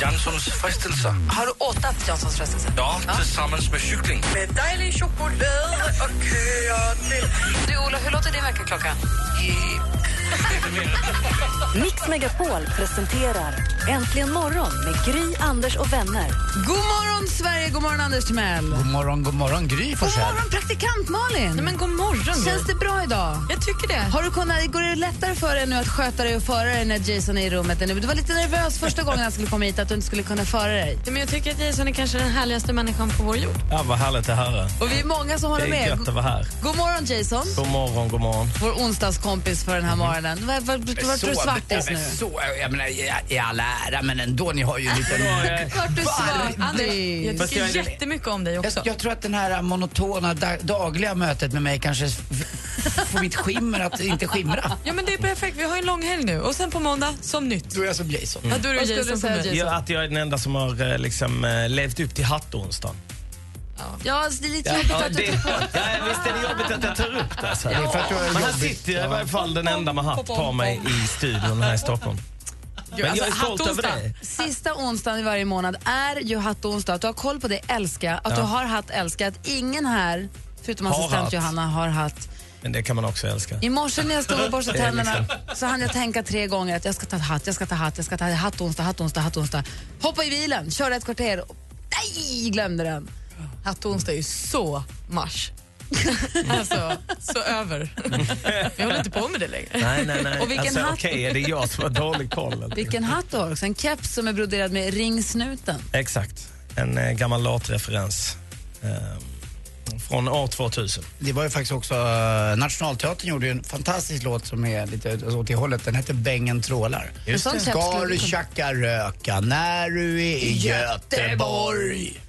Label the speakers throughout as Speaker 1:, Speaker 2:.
Speaker 1: Janssons frestelser.
Speaker 2: Har du åtat Janssons frestelse?
Speaker 1: Ja, tillsammans med kyckling.
Speaker 2: Med dejlig choklad och köa till. Du, Ola, hur låter din väckarklocka?
Speaker 3: Mix Megapol presenterar Äntligen morgon med Gry, Anders och vänner.
Speaker 4: God morgon, Sverige! God morgon, Anders Timell! God
Speaker 5: morgon, god morgon Gry
Speaker 4: God morgon, praktikant Malin!
Speaker 2: Men god morgon.
Speaker 4: Känns det bra idag?
Speaker 2: Jag tycker det.
Speaker 4: Har du kunnat, går det lättare för dig nu att sköta dig och föra dig när Jason är i rummet? än nu? Du var lite nervös första gången han skulle komma hit att du inte skulle kunna föra dig.
Speaker 2: Men jag tycker att Jason är kanske den härligaste människan på vår jord.
Speaker 6: Ja, vad härligt att höra.
Speaker 4: Och vi är många som håller
Speaker 6: Det är
Speaker 4: med.
Speaker 6: gött att vara Oh. här.
Speaker 4: God morgon Jason,
Speaker 6: God morgon, god morgon.
Speaker 4: vår onsdagskompis för den
Speaker 6: Mm.
Speaker 4: här morgonen. Var- var- Vart var, du svartis nu?
Speaker 5: Men så, jag menar, i- i all ära, men ändå, ni har ju en liten...
Speaker 4: Vart du svartis?
Speaker 2: Jag
Speaker 6: Fast
Speaker 2: tycker
Speaker 6: jag är det-
Speaker 2: jättemycket om dig
Speaker 5: Jag,
Speaker 2: också.
Speaker 5: jag tror att den här monotona da- dagliga mötet med mig kanske f- får mitt skimmer att inte skimra.
Speaker 2: Ja, men det är perfekt. Vi har en lång helg nu. Och sen på måndag, som nytt.
Speaker 5: Då är jag som Jason.
Speaker 2: Ja, då är
Speaker 4: Vad
Speaker 2: det
Speaker 4: skulle du
Speaker 2: Jason för
Speaker 4: säga,
Speaker 2: mig.
Speaker 4: Jason?
Speaker 6: Gör att jag är den enda som har eh, liksom, eh, levt upp till hattonsdagen.
Speaker 4: Ja, alltså, det är lite
Speaker 6: Ja,
Speaker 4: jobbigt
Speaker 6: ja,
Speaker 4: att du
Speaker 6: det- ja, visst är det jobbigt att jag tar upp det. Alltså.
Speaker 5: är för att jag är
Speaker 6: Men här
Speaker 5: jobbig.
Speaker 6: sitter jag i varje fall den enda med hatt på mig i studion här i Stockholm. Men jag är stolt över det.
Speaker 4: Sista onsdagen i varje månad är ju hattonsdag. Att du har koll på det älskar jag. Att du har hatt älskar jag. Att ingen här, förutom
Speaker 6: Har
Speaker 4: assistent
Speaker 6: hatt.
Speaker 4: Johanna, har hatt.
Speaker 6: Men det kan man också älska.
Speaker 4: I morse när jag stod och borstade
Speaker 6: Det är liksom-
Speaker 4: tänderna så hann jag tänka tre gånger att jag ska ta ett hatt, jag ska ta hatt, jag ska ta hattonsdag, hattonsdag, hattonsdag. Hoppa i bilen, köra ett kvarter. Nej, glömde den.
Speaker 2: Hattonsdag är ju så mars. alltså, så över. Vi håller inte på med det längre.
Speaker 6: Nej, nej, nej.
Speaker 4: Och vilken
Speaker 6: alltså,
Speaker 4: hatt?
Speaker 6: Okej, är det jag som har dålig koll?
Speaker 4: Vilken hatt du har också. En keps som är broderad med ringsnuten.
Speaker 6: Exakt. En eh, gammal låtreferens. Eh, från år 2000.
Speaker 5: Det var ju faktiskt också, eh, Nationalteatern gjorde ju en fantastisk låt som är lite alltså, åt det hållet. Den hette Bängen trålar.
Speaker 4: Just En sån det.
Speaker 5: Ska
Speaker 4: köpslå-
Speaker 5: du tjacka röka när du är i Göteborg?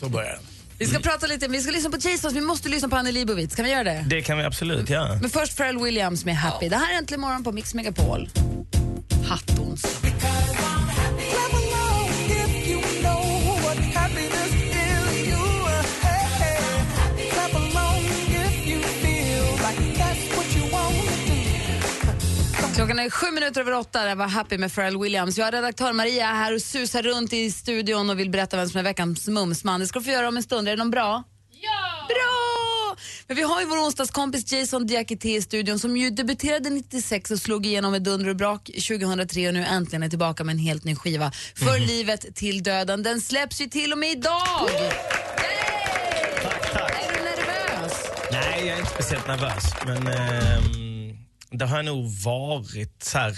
Speaker 5: Så börjar den.
Speaker 4: Vi ska prata lite, vi ska lyssna på Jesus, vi måste lyssna på Annie Leibovitz. Kan vi göra det?
Speaker 6: Det kan vi absolut göra.
Speaker 4: Men först Pharrell Williams med Happy. Det här är Äntligen morgon på Mix Megapol. Hattons. Klockan är sju minuter över åtta. Det här var Happy med Pharrell Williams. Jag har redaktör Maria här och susar runt i studion och vill berätta vem som är veckans mumsman. Det ska du få göra om en stund. Är det någon bra? Ja! Bra! Men vi har ju vår onsdagskompis Jason Diakité i studion som ju debuterade 96 och slog igenom med dunder och brak 2003 och nu äntligen är tillbaka med en helt ny skiva. För
Speaker 6: Mhm.
Speaker 4: livet till döden. Den släpps ju till och med idag!
Speaker 6: Tack, tack.
Speaker 4: Är du nervös?
Speaker 6: Nej, jag är inte speciellt nervös. Men ehm, det har jag nog varit så här, eh,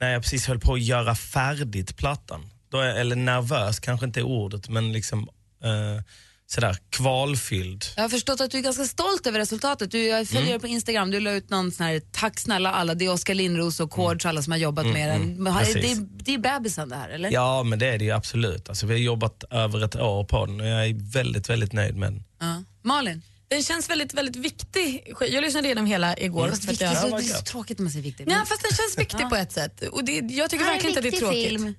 Speaker 6: när jag precis höll på att göra färdigt plattan. Då är, eller nervös kanske inte är ordet, men liksom eh, sådär kvalfylld.
Speaker 4: Jag har förstått att du är ganska stolt över resultatet. Du, jag
Speaker 6: Mm.
Speaker 4: följer dig på Instagram. Du la ut någon sån här “Tack snälla alla”. Det är Oskar Lindros och Kords och alla som har jobbat med den. Men har-
Speaker 6: Mm. Precis.
Speaker 4: Det, är- det är bebisen det här, eller?
Speaker 6: Ja, men det är det ju absolut. Alltså, vi har jobbat över ett år på den och jag är väldigt, väldigt nöjd med den.
Speaker 4: Ja. Malin?
Speaker 2: Den känns väldigt, väldigt viktig. Jag lyssnade igenom hela igår.
Speaker 4: Fast
Speaker 2: för att
Speaker 4: viktigt,
Speaker 2: jag-
Speaker 4: så, det
Speaker 6: vad
Speaker 4: är så
Speaker 6: gött.
Speaker 4: tråkigt när man säger viktigt.
Speaker 2: Nej, fast den känns viktig på ett sätt. Och det, jag tycker
Speaker 4: Ja,
Speaker 2: verkligen inte att det är
Speaker 4: viktig
Speaker 2: tråkigt.
Speaker 4: film.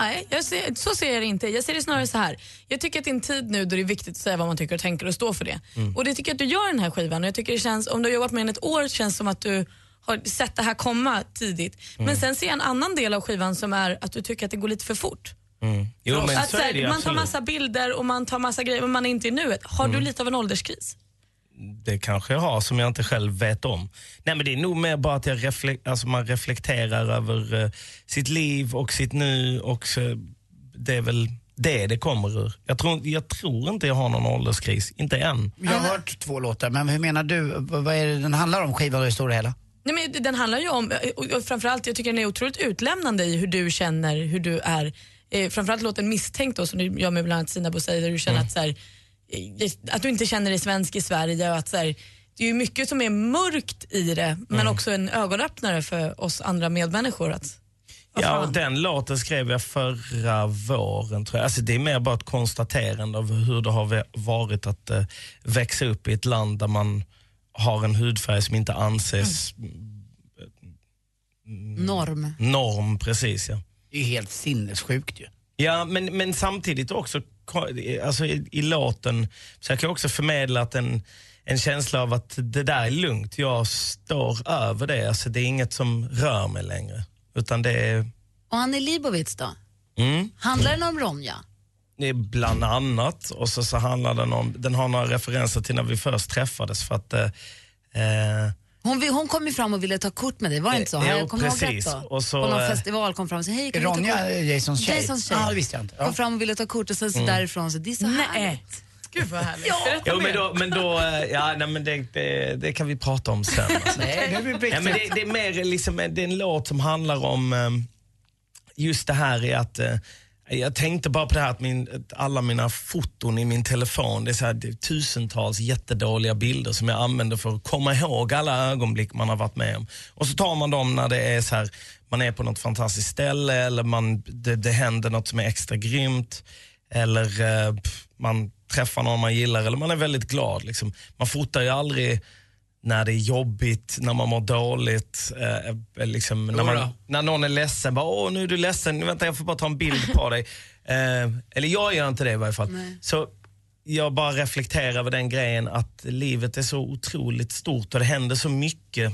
Speaker 2: Nej, jag ser, så ser jag det inte. Jag ser det snarare så här. Jag tycker att det är en tid nu då det är viktigt att säga vad man tycker och tänker och stå för det.
Speaker 6: Mm.
Speaker 2: Och det tycker jag att du gör i den här skivan. Och jag tycker det känns, om du har jobbat med den ett år känns det som att du har sett det här komma tidigt.
Speaker 6: Mm.
Speaker 2: Men sen ser jag en annan del av skivan som är att du tycker att det går lite för fort.
Speaker 6: Mm. Jo, men
Speaker 2: att,
Speaker 6: så
Speaker 2: här,
Speaker 6: är det ju
Speaker 2: alltså, man tar
Speaker 6: absolut. Mm.
Speaker 2: massa bilder och man tar massa grejer men man är inte i nuet. Har du lite av en ålderskris?
Speaker 6: det kanske jag har som jag inte själv vet om. Nej men Det är nog mer bara att jag reflek- alltså man reflekterar över eh, sitt liv och sitt nu. Och så, det är väl det det kommer ur. Jag tror, jag tror inte jag har någon ålderskris, inte än.
Speaker 5: Jag har hört två låtar, men hur menar du? V- Vad är det den handlar om, skivan och det stora hela?
Speaker 2: Nej, men den handlar ju om, och och framförallt, jag tycker den är otroligt utlämnande i hur du känner, hur du är. Eh, framförallt låten Misstänkt då, som du gör med bland annat Sina Bouzej, där du känner att, så här, eh, att du inte känner dig svensk i Sverige och att så här, det är ju mycket som är mörkt i det, men också en ögonöppnare för oss andra medmänniskor. Att,
Speaker 6: Ja, och den låten skrev jag förra våren tror jag. Alltså, det är mer bara ett konstaterande av hur det har vä- varit att eh, växa upp i ett land där man har en hudfärg som inte anses
Speaker 4: Norm.
Speaker 6: norm precis. Ja.
Speaker 5: Det är ju helt sinnessjukt ju.
Speaker 6: Ja, men, men samtidigt också ko- alltså i, i låten försöker jag också förmedla att en, en känsla av att det där är lugnt. Jag står över det. Alltså, det är inget som rör mig längre. Utan det är,
Speaker 4: Och Annie Leibovitz då?
Speaker 6: mm,
Speaker 4: Handlar den om Ronja?
Speaker 6: det är bland annat. Och så, så handlar den om, den har några referenser till när vi först träffades för att eh, eh,
Speaker 4: Hon, vi- hon kom ju fram och ville ta kort med dig, var det inte så?
Speaker 6: Eh,
Speaker 4: Har
Speaker 6: jo,
Speaker 4: jag kommer ihåg rätt
Speaker 6: precis.
Speaker 4: då?
Speaker 6: Och så,
Speaker 4: på någon
Speaker 6: eh,
Speaker 4: festival kom fram och sa, hej kan vi ta
Speaker 5: Ronja
Speaker 4: kort?
Speaker 5: är Jasons tjej.
Speaker 4: Jasons tjej.
Speaker 5: Ja, det visste jag inte.
Speaker 4: Kom
Speaker 5: Ja. Mm.
Speaker 4: fram och ville ta kort och sen så därifrån så det är så
Speaker 2: Nej. Gud vad härligt. Berätta
Speaker 6: jo, men
Speaker 2: mer.
Speaker 6: då, men då eh, ja, nej, men det, det, det kan vi prata om sen. Alltså.
Speaker 5: Nej, det är väl
Speaker 6: Ja, men
Speaker 5: riktigt.
Speaker 6: det, det är mer liksom, det är en låt som handlar om eh, just det här i att eh, jag tänkte bara på det här att, min, att alla mina foton i min telefon, det är, så här, det är tusentals jättedåliga bilder som jag använder för att komma ihåg alla ögonblick man har varit med om. Och så tar man dem när det är så här, man är på något fantastiskt ställe eller man, det, det händer något som är extra grymt eller eh, pff, man träffar någon man gillar eller man är väldigt glad. Liksom. Man fotar ju aldrig när det är jobbigt, när man mår dåligt, eh, liksom, när, man,
Speaker 5: Jodå.
Speaker 6: när någon är ledsen. Bara, Åh, nu är du ledsen, vänta jag får bara ta en bild på dig. Eh, eller jag gör inte det i varje fall. Så jag bara reflekterar över den grejen att livet är så otroligt stort och det händer så mycket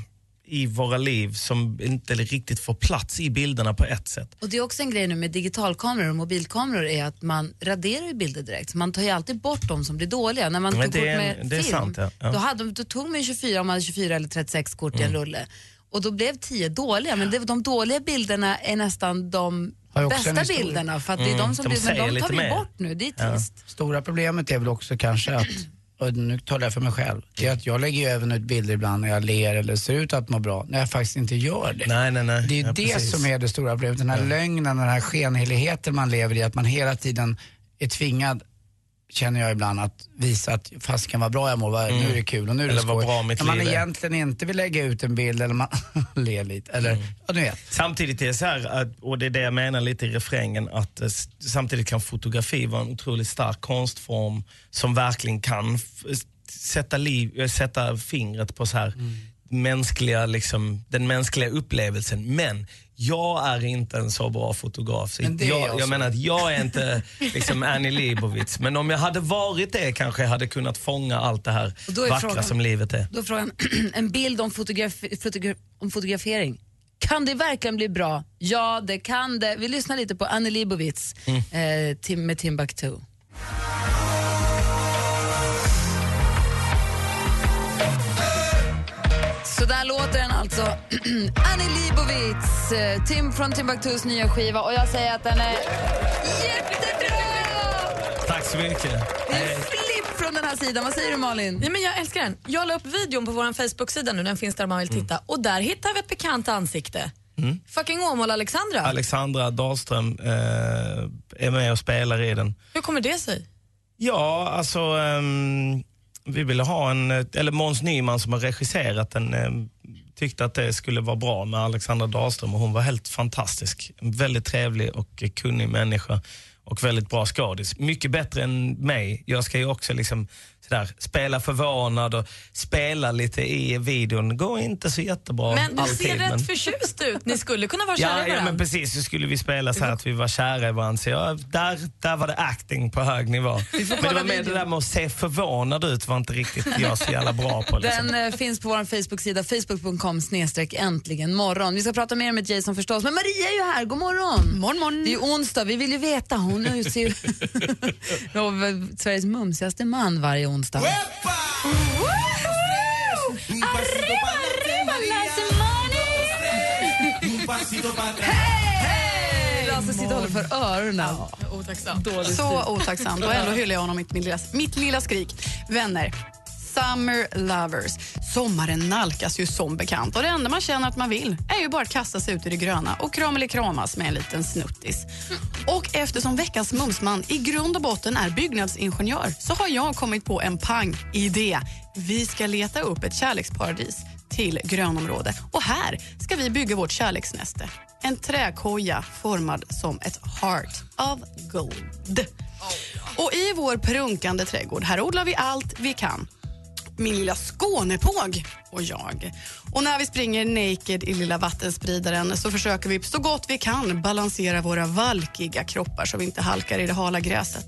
Speaker 6: i våra liv som inte riktigt får plats i bilderna på ett sätt.
Speaker 4: Och det är också en grej nu med digitalkameror och mobilkameror är att man raderar ju bilder direkt. Man tar ju alltid bort de som blir dåliga. När man
Speaker 6: Men
Speaker 4: tog
Speaker 6: det
Speaker 4: kort
Speaker 6: är en-
Speaker 4: med
Speaker 6: det är
Speaker 4: film,
Speaker 6: sant, ja. Ja. Mm.
Speaker 4: Då, hade, då tog man ju 24, om man hade 24 eller 36 kort i en rulle. Och då blev 10 dåliga, men det, de dåliga bilderna är nästan de
Speaker 5: Har ju också en
Speaker 4: bästa
Speaker 5: historia.
Speaker 4: bilderna. För att det är de som
Speaker 6: Mm. de
Speaker 4: blir, men
Speaker 6: säger
Speaker 4: de tar
Speaker 6: lite
Speaker 4: vi ju
Speaker 6: mer.
Speaker 4: bort nu, det är trist.
Speaker 5: Stora problemet är väl också kanske att, och nu talar jag för mig själv, det är att jag lägger ju även ut bilder ibland när jag ler eller ser ut att må bra, när jag faktiskt inte gör det.
Speaker 6: Nej, nej, nej.
Speaker 5: Det är ju
Speaker 6: Ja,
Speaker 5: det
Speaker 6: precis.
Speaker 5: som är det stora problemet, den här lögnen, den här skenheligheten man lever i, att man hela tiden är tvingad känner jag ibland att visa att fasiken vad bra jag mår, vad- nu är det kul och nu är det
Speaker 6: Mm. Eller vad
Speaker 5: skoj.
Speaker 6: bra mitt
Speaker 5: När man
Speaker 6: liv är.
Speaker 5: egentligen inte vill lägga ut en bild eller man ler lite eller
Speaker 6: Mm.
Speaker 5: ja du vet.
Speaker 6: Samtidigt är det så här, att- och det är det jag menar lite i refrängen, att eh, s- samtidigt kan fotografi vara en otroligt stark konstform som verkligen kan f- s- sätta, liv, eh, sätta fingret på så här mänskliga, liksom, den mänskliga upplevelsen. Men jag är inte en så bra fotograf. Så
Speaker 5: Men det är jag
Speaker 6: jag, jag
Speaker 5: som-
Speaker 6: menar att jag är inte liksom Annie Leibovitz. Men om jag hade varit det kanske jag hade kunnat fånga allt det här
Speaker 4: Och då är
Speaker 6: vackra
Speaker 4: frågan-
Speaker 6: som livet är.
Speaker 4: Då är frågan, en bild om, fotografi, fotogra- om fotografering. Kan det verkligen bli bra? Ja, det kan det. Vi lyssnar lite på Annie Leibovitz eh, Tim, med Timbuktu. Så där låter den alltså. Annie Leibovitz, eh, Tim från Timbuktus nya skiva och jag säger att den är jättebra!
Speaker 6: Tack så mycket.
Speaker 4: Det är flipp från den här sidan. Vad säger du Malin?
Speaker 2: Nej, men jag älskar den. Jag la upp videon på vår Facebook-sida nu, den finns där om man vill titta. Och där hittar vi ett bekant ansikte. Fucking Åmål-Alexandra.
Speaker 6: Alexandra Dahlström eh, är med och spelar i den.
Speaker 2: Hur kommer det sig?
Speaker 6: Ja, alltså ehm, vi ville ha en, eh, eller Måns Nyman som har regisserat den ehm, tyckte att det skulle vara bra med Alexandra Dahlström och hon var helt fantastisk. En väldigt trevlig och eh, kunnig människa och väldigt bra skådis. Mycket bättre än mig. Jag ska ju också liksom sådär, spela förvånad och spela lite i videon. Går inte så jättebra
Speaker 2: men du
Speaker 6: alltid.
Speaker 2: ser rätt
Speaker 6: men-
Speaker 2: förtjust ut. Ni skulle kunna vara kära
Speaker 6: Ja,
Speaker 2: i
Speaker 6: ja
Speaker 2: varandra.
Speaker 6: men precis, så skulle vi spela så här att vi var kära i varandra. Så ja, där, där var det acting på hög nivå. Men det var med det där med att se förvånad ut var inte riktigt jag så jävla bra på. Liksom.
Speaker 4: Den eh, finns på vår Facebook-sida, facebook.com snedstreck äntligen morgon. Vi ska prata mer med Jason förstås, men Maria är ju här, god morgon.
Speaker 7: Morgon, morgon.
Speaker 4: Det är ju onsdag, vi vill ju veta. Hon är ju ser- Rob, eh, Sveriges mumsigaste man varje onsdag. Lasse sitter och håller för öronen.
Speaker 5: Oh,
Speaker 2: Otacksam.
Speaker 7: Så otacksam. Och ändå hyllar jag honom i mitt lilla, mitt lilla skrik. Vänner, summer lovers. Sommaren nalkas ju som bekant och det enda man känner att man vill är ju bara att kasta sig ut i det gröna och kram eller kramas med en liten snuttis. Och eftersom veckans mumsman i grund och botten är byggnadsingenjör så har jag kommit på en pang-idé. Vi ska leta upp ett kärleksparadis till grönområde och här ska vi bygga vårt kärleksnäste. En träkoja formad som ett heart of gold. Och i vår prunkande trädgård, här odlar vi allt vi kan min lilla Skånepåg och jag. Och när vi springer naked i lilla vattenspridaren så försöker vi så gott vi kan balansera våra valkiga kroppar så vi inte halkar i det hala gräset.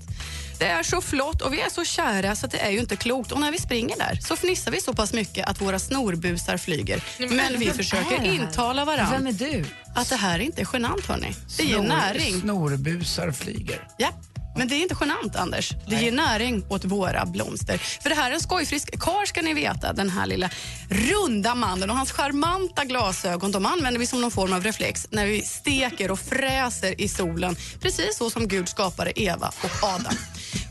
Speaker 7: Det är så flott och vi är så kära så att det är ju inte klokt. Och när vi springer där så fnissar vi så pass mycket att våra snorbusar flyger. Men vi försöker intala
Speaker 4: Vem
Speaker 7: varandra
Speaker 4: är du?
Speaker 7: att det här är inte genant hörni. Det ger näring.
Speaker 5: Snorbusar flyger.
Speaker 7: Ja. Men det är inte genant, Anders. Det ger näring åt våra blomster. För det här är en skojfrisk karl, ska ni veta. Den här lilla runda mannen och hans charmanta glasögon de använder vi som någon form av reflex när vi steker och fräser i solen. Precis så som Gud skapade Eva och Adam.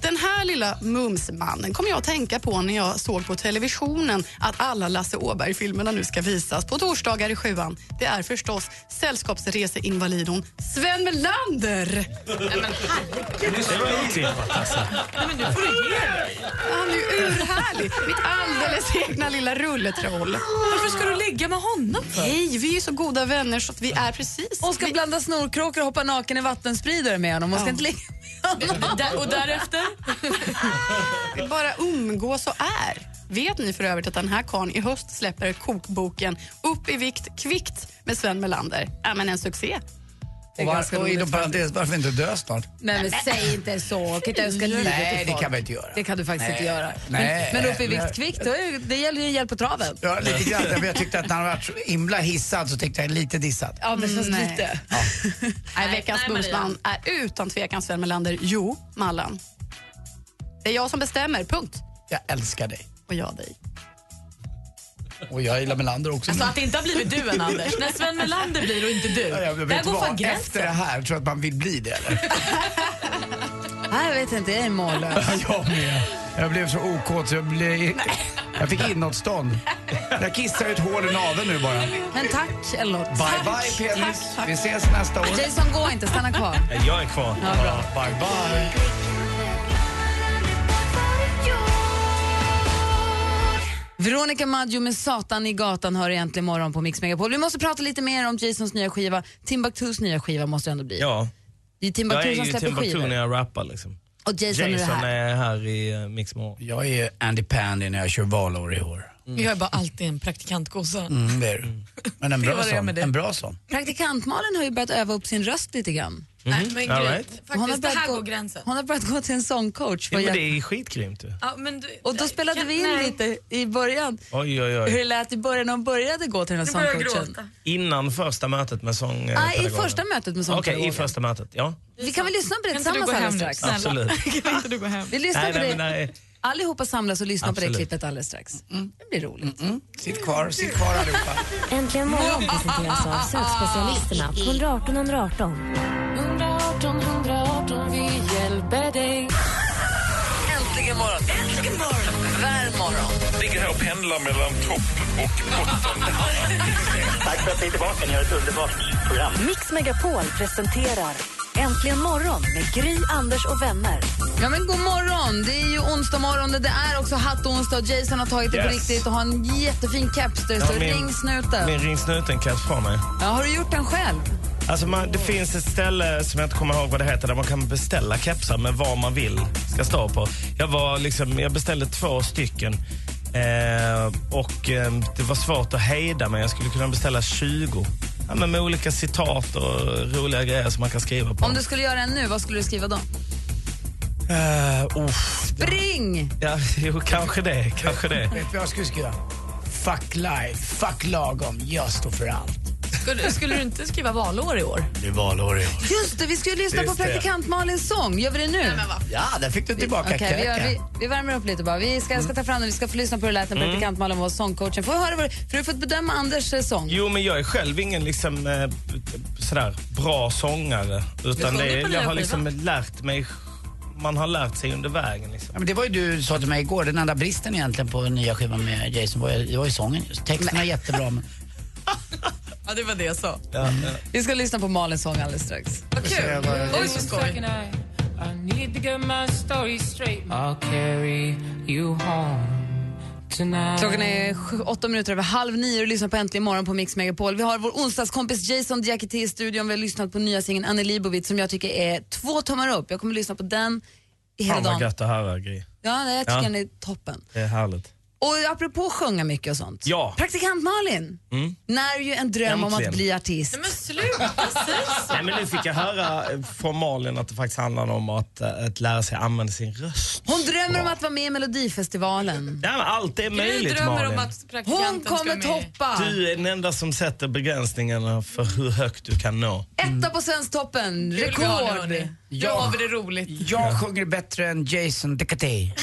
Speaker 7: Den här lilla mumsmannen kom jag att tänka på när jag såg på televisionen att alla Lasse Åberg-filmerna nu ska visas på torsdagar i sjuan. Det är förstås sällskapsreseinvalidon Sven Melander!
Speaker 6: Det var otippat alltså.
Speaker 7: Han är ju urhärlig. Mitt alldeles egna lilla rulletroll.
Speaker 2: Varför ska du ligga med honom?
Speaker 7: Hej, vi är ju så goda vänner så att vi är precis...
Speaker 4: Hon ska
Speaker 7: vi,
Speaker 4: blanda snorkråkor och hoppa naken i vattenspridare med honom. Hon ska inte ligga
Speaker 2: Där, och därefter?
Speaker 7: vi bara umgås och är. Vet ni för övrigt att den här karln i höst släpper kokboken Upp i vikt kvickt med Sven Melander? Ja, men en succé.
Speaker 5: Och varför, och inom parentes, varför inte dö snart?
Speaker 4: Nej, men säg inte så. Kan inte önska livet till
Speaker 5: Nej, det
Speaker 4: folk.
Speaker 5: kan man inte göra.
Speaker 4: Det kan du faktiskt
Speaker 5: Nej.
Speaker 4: inte göra.
Speaker 5: Nej.
Speaker 4: Men, men upp i vikt
Speaker 5: Nej.
Speaker 4: kvickt, då är- det gäller ju hjälp på traven.
Speaker 5: Ja, lite grann. Ja, men Jag tyckte att när han var så himla hissad så tyckte jag lite dissad.
Speaker 4: Ja, men så
Speaker 7: Mm, Nej.
Speaker 4: lite.
Speaker 7: Nej, veckans
Speaker 2: nej, Maria.
Speaker 7: Bumsman är utan tvekan Sven Melander. Jo, Mallan. Det är jag som bestämmer, punkt.
Speaker 5: Jag älskar dig.
Speaker 7: Och jag dig.
Speaker 5: Och jag gillar Melander också.
Speaker 2: Alltså att det inte har blivit du än Anders. När Sven Melander blir och inte du.
Speaker 5: Ja, jag vet
Speaker 2: Där går
Speaker 5: vad,
Speaker 2: fan
Speaker 5: Efter det
Speaker 2: gränsen.
Speaker 5: här, tror jag att man vill bli det eller?
Speaker 4: Nej, jag vet inte, jag är mållös.
Speaker 5: Ja, jag med. Jag blev så okåt så jag blev... Jag fick inåtstånd. Jag kissar ut hål i naveln nu bara.
Speaker 4: Men tack eller något.
Speaker 5: Bye bye Penis. Vi ses nästa år.
Speaker 4: Jason, gå inte. Stanna kvar.
Speaker 6: Jag är kvar.
Speaker 4: bra.
Speaker 5: Bye bye.
Speaker 4: Veronica Maggio med Satan i gatan hör egentligen morgon på Mix Megapol. Vi måste prata lite mer om Jasons nya skiva. Timbuktus nya skiva måste det ändå bli.
Speaker 6: Ja,
Speaker 4: Det
Speaker 6: jag
Speaker 4: är
Speaker 6: är
Speaker 4: Timbuktu som
Speaker 6: ju
Speaker 4: släpper
Speaker 6: Timbuktu när
Speaker 4: skivor.
Speaker 6: jag rappar liksom.
Speaker 4: Och Jason, är det
Speaker 6: Jason
Speaker 4: här.
Speaker 6: är här i eh, Mix Morgon.
Speaker 5: Jag är Andy Pandy när jag kör valår i år.
Speaker 2: Jag är bara alltid en praktikantgosse.
Speaker 5: Mm, det är du. Men en
Speaker 2: Det
Speaker 5: bra
Speaker 2: var det
Speaker 5: sån.
Speaker 2: med det.
Speaker 5: En bra sån.
Speaker 4: Praktikant-Malin har ju börjat öva upp sin röst lite grann.
Speaker 2: Nej,
Speaker 5: Mm-hmm.
Speaker 2: men
Speaker 6: All
Speaker 2: grej-
Speaker 6: right.
Speaker 4: Hon har
Speaker 2: Faktiskt, det
Speaker 4: börjat
Speaker 2: här
Speaker 4: gå-
Speaker 2: går gränsen.
Speaker 4: Hon har börjat gå till en sångcoach. för
Speaker 6: Ja,
Speaker 4: att
Speaker 6: men det
Speaker 4: hjälp-
Speaker 6: är skitgrymt ju.
Speaker 2: Ja, men du,
Speaker 4: Och då spelade
Speaker 2: kan-
Speaker 4: vi in
Speaker 2: nej.
Speaker 4: lite i början
Speaker 6: Oj, oj,
Speaker 4: hur
Speaker 6: oj.
Speaker 4: det lät i början när hon började gå till den här
Speaker 2: Nu börjar jag
Speaker 4: sångcoachen.
Speaker 2: gråta.
Speaker 6: Innan första mötet med sångpedagogen.
Speaker 4: Nej, Ah, i första mötet med
Speaker 6: Okej,
Speaker 4: sångpedagogen.
Speaker 6: i första mötet. Ja,
Speaker 4: Vi kan väl lyssna på det
Speaker 2: Kan inte du
Speaker 4: tillsammans
Speaker 2: gå
Speaker 4: alldeles
Speaker 2: hem nu?
Speaker 4: strax?
Speaker 2: Snälla.
Speaker 6: absolut.
Speaker 2: Kan inte du gå hem?
Speaker 4: Vi lyssnar
Speaker 6: Nej,
Speaker 4: på
Speaker 6: nej,
Speaker 4: det.
Speaker 6: men nej.
Speaker 4: Allihopa samlas och lyssnar på det
Speaker 6: Absolut.
Speaker 4: klippet alldeles strax.
Speaker 2: Mm.
Speaker 4: Det blir roligt.
Speaker 5: Sitt kvar, sitt kvar allihopa.
Speaker 3: Äntligen morgon presenteras av sökspecialisterna på 118 118.
Speaker 4: Äntligen morgon! Äntligen morgon! Varm morgon!
Speaker 1: Ligger här och pendlar mellan topp och botten. Tack för att ni är tillbaka. Ni har ett underbart program.
Speaker 3: Mix Megapol presenterar Äntligen morgon med Gry, Anders och vänner.
Speaker 4: Ja, men god morgon! Det är ju onsdag morgon och det är också hattonsdag. Jason har tagit det på
Speaker 6: Yes.
Speaker 4: riktigt och har en jättefin keps där det
Speaker 6: Ja,
Speaker 4: står
Speaker 6: min-
Speaker 4: ringsnuten.
Speaker 6: Min ringsnuten-keps på mig.
Speaker 4: Ja, har du gjort den själv?
Speaker 6: Alltså man, det finns ett ställe som jag inte kommer ihåg vad det heter där man kan beställa kepsar med vad man vill ska stå på. Jag, var liksom, jag beställde två stycken eh, och eh, det var svårt att hejda mig. Jag skulle kunna beställa 20. Ja, men med olika citat och roliga grejer som man kan skriva på.
Speaker 4: Om du skulle göra en nu, vad skulle du skriva då?
Speaker 5: oh.
Speaker 6: Eh, uff.
Speaker 4: Spring!
Speaker 6: Ja, jo, kanske det. Kanske det.
Speaker 5: Vet du vad jag skulle skriva? Fuck life, fuck lagom, jag står för allt.
Speaker 2: Skulle, skulle du inte skriva valår i år?
Speaker 5: Det är valår i år.
Speaker 4: Just det, vi skulle lyssna på
Speaker 5: Just det.
Speaker 4: praktikant Malins sång. Gör vi det nu?
Speaker 5: Ja, där fick du tillbaka
Speaker 4: Okej, vi, gör,
Speaker 5: kräkan.
Speaker 4: vi, vi värmer upp lite bara. Vi ska, jag ska ta fram den, vi ska få lyssna på hur det lät när praktikant Malin var sångcoachen. Får jag höra vad du, för du har fått bedöma Anders eh, sång.
Speaker 6: Jo, men jag är själv ingen liksom, eh, sådär, bra sångare. Utan
Speaker 2: sjunger
Speaker 6: det,
Speaker 2: på
Speaker 6: jag
Speaker 2: nya
Speaker 6: har liksom lärt mig, man har lärt sig under vägen. Liksom.
Speaker 5: Ja, men det var ju du sa till mig igår, den enda bristen egentligen på den nya skivan med Jason var, ju- det var ju sången just. Texten var jättebra men...
Speaker 2: Ja, det var det jag sa.
Speaker 6: Ja, ja.
Speaker 4: Vi ska lyssna på Malins sång alldeles strax.
Speaker 2: Vad kul. Oj, så skoj.
Speaker 4: Klockan är sju- åtta minuter över halv nio och lyssnar på Äntligen morgon på Mix Megapol. Vi har vår onsdagskompis Jason Diakité i studion. Vi har lyssnat på nya singeln Annie Leibovitz som jag tycker är två tummar upp. Jag kommer lyssna på den i hela
Speaker 6: Fan vad
Speaker 4: dagen.
Speaker 6: gött att höra Gry.
Speaker 4: Ja, nej, jag tycker
Speaker 6: Oh Ja.
Speaker 4: den är toppen.
Speaker 6: Det är härligt.
Speaker 4: Och apropå sjunga mycket och sånt.
Speaker 6: Ja. Mm.
Speaker 4: Praktikant Malin när ju en dröm om att
Speaker 6: Äntligen.
Speaker 4: bli artist.
Speaker 2: Men sluta säg så.
Speaker 6: Nej, men nu fick jag höra eh, från Malin att det faktiskt handlar om att, eh, att lära sig använda sin röst.
Speaker 4: Hon drömmer om att vara med i Melodifestivalen.
Speaker 6: Nej, men allt är
Speaker 2: Du
Speaker 6: möjligt
Speaker 2: drömmer
Speaker 6: Malin.
Speaker 2: om att praktikanten
Speaker 4: Hon
Speaker 2: ska
Speaker 4: kommer
Speaker 2: med.
Speaker 4: toppa!
Speaker 6: Du är den enda som sätter begränsningarna för hur högt du kan nå.
Speaker 4: Etta på Svensktoppen,
Speaker 2: Kul vi har nu,
Speaker 4: rekord!
Speaker 2: hörni. Då
Speaker 5: Ja.
Speaker 2: har vi det roligt.
Speaker 5: Jag sjunger bättre än Jason Decatee.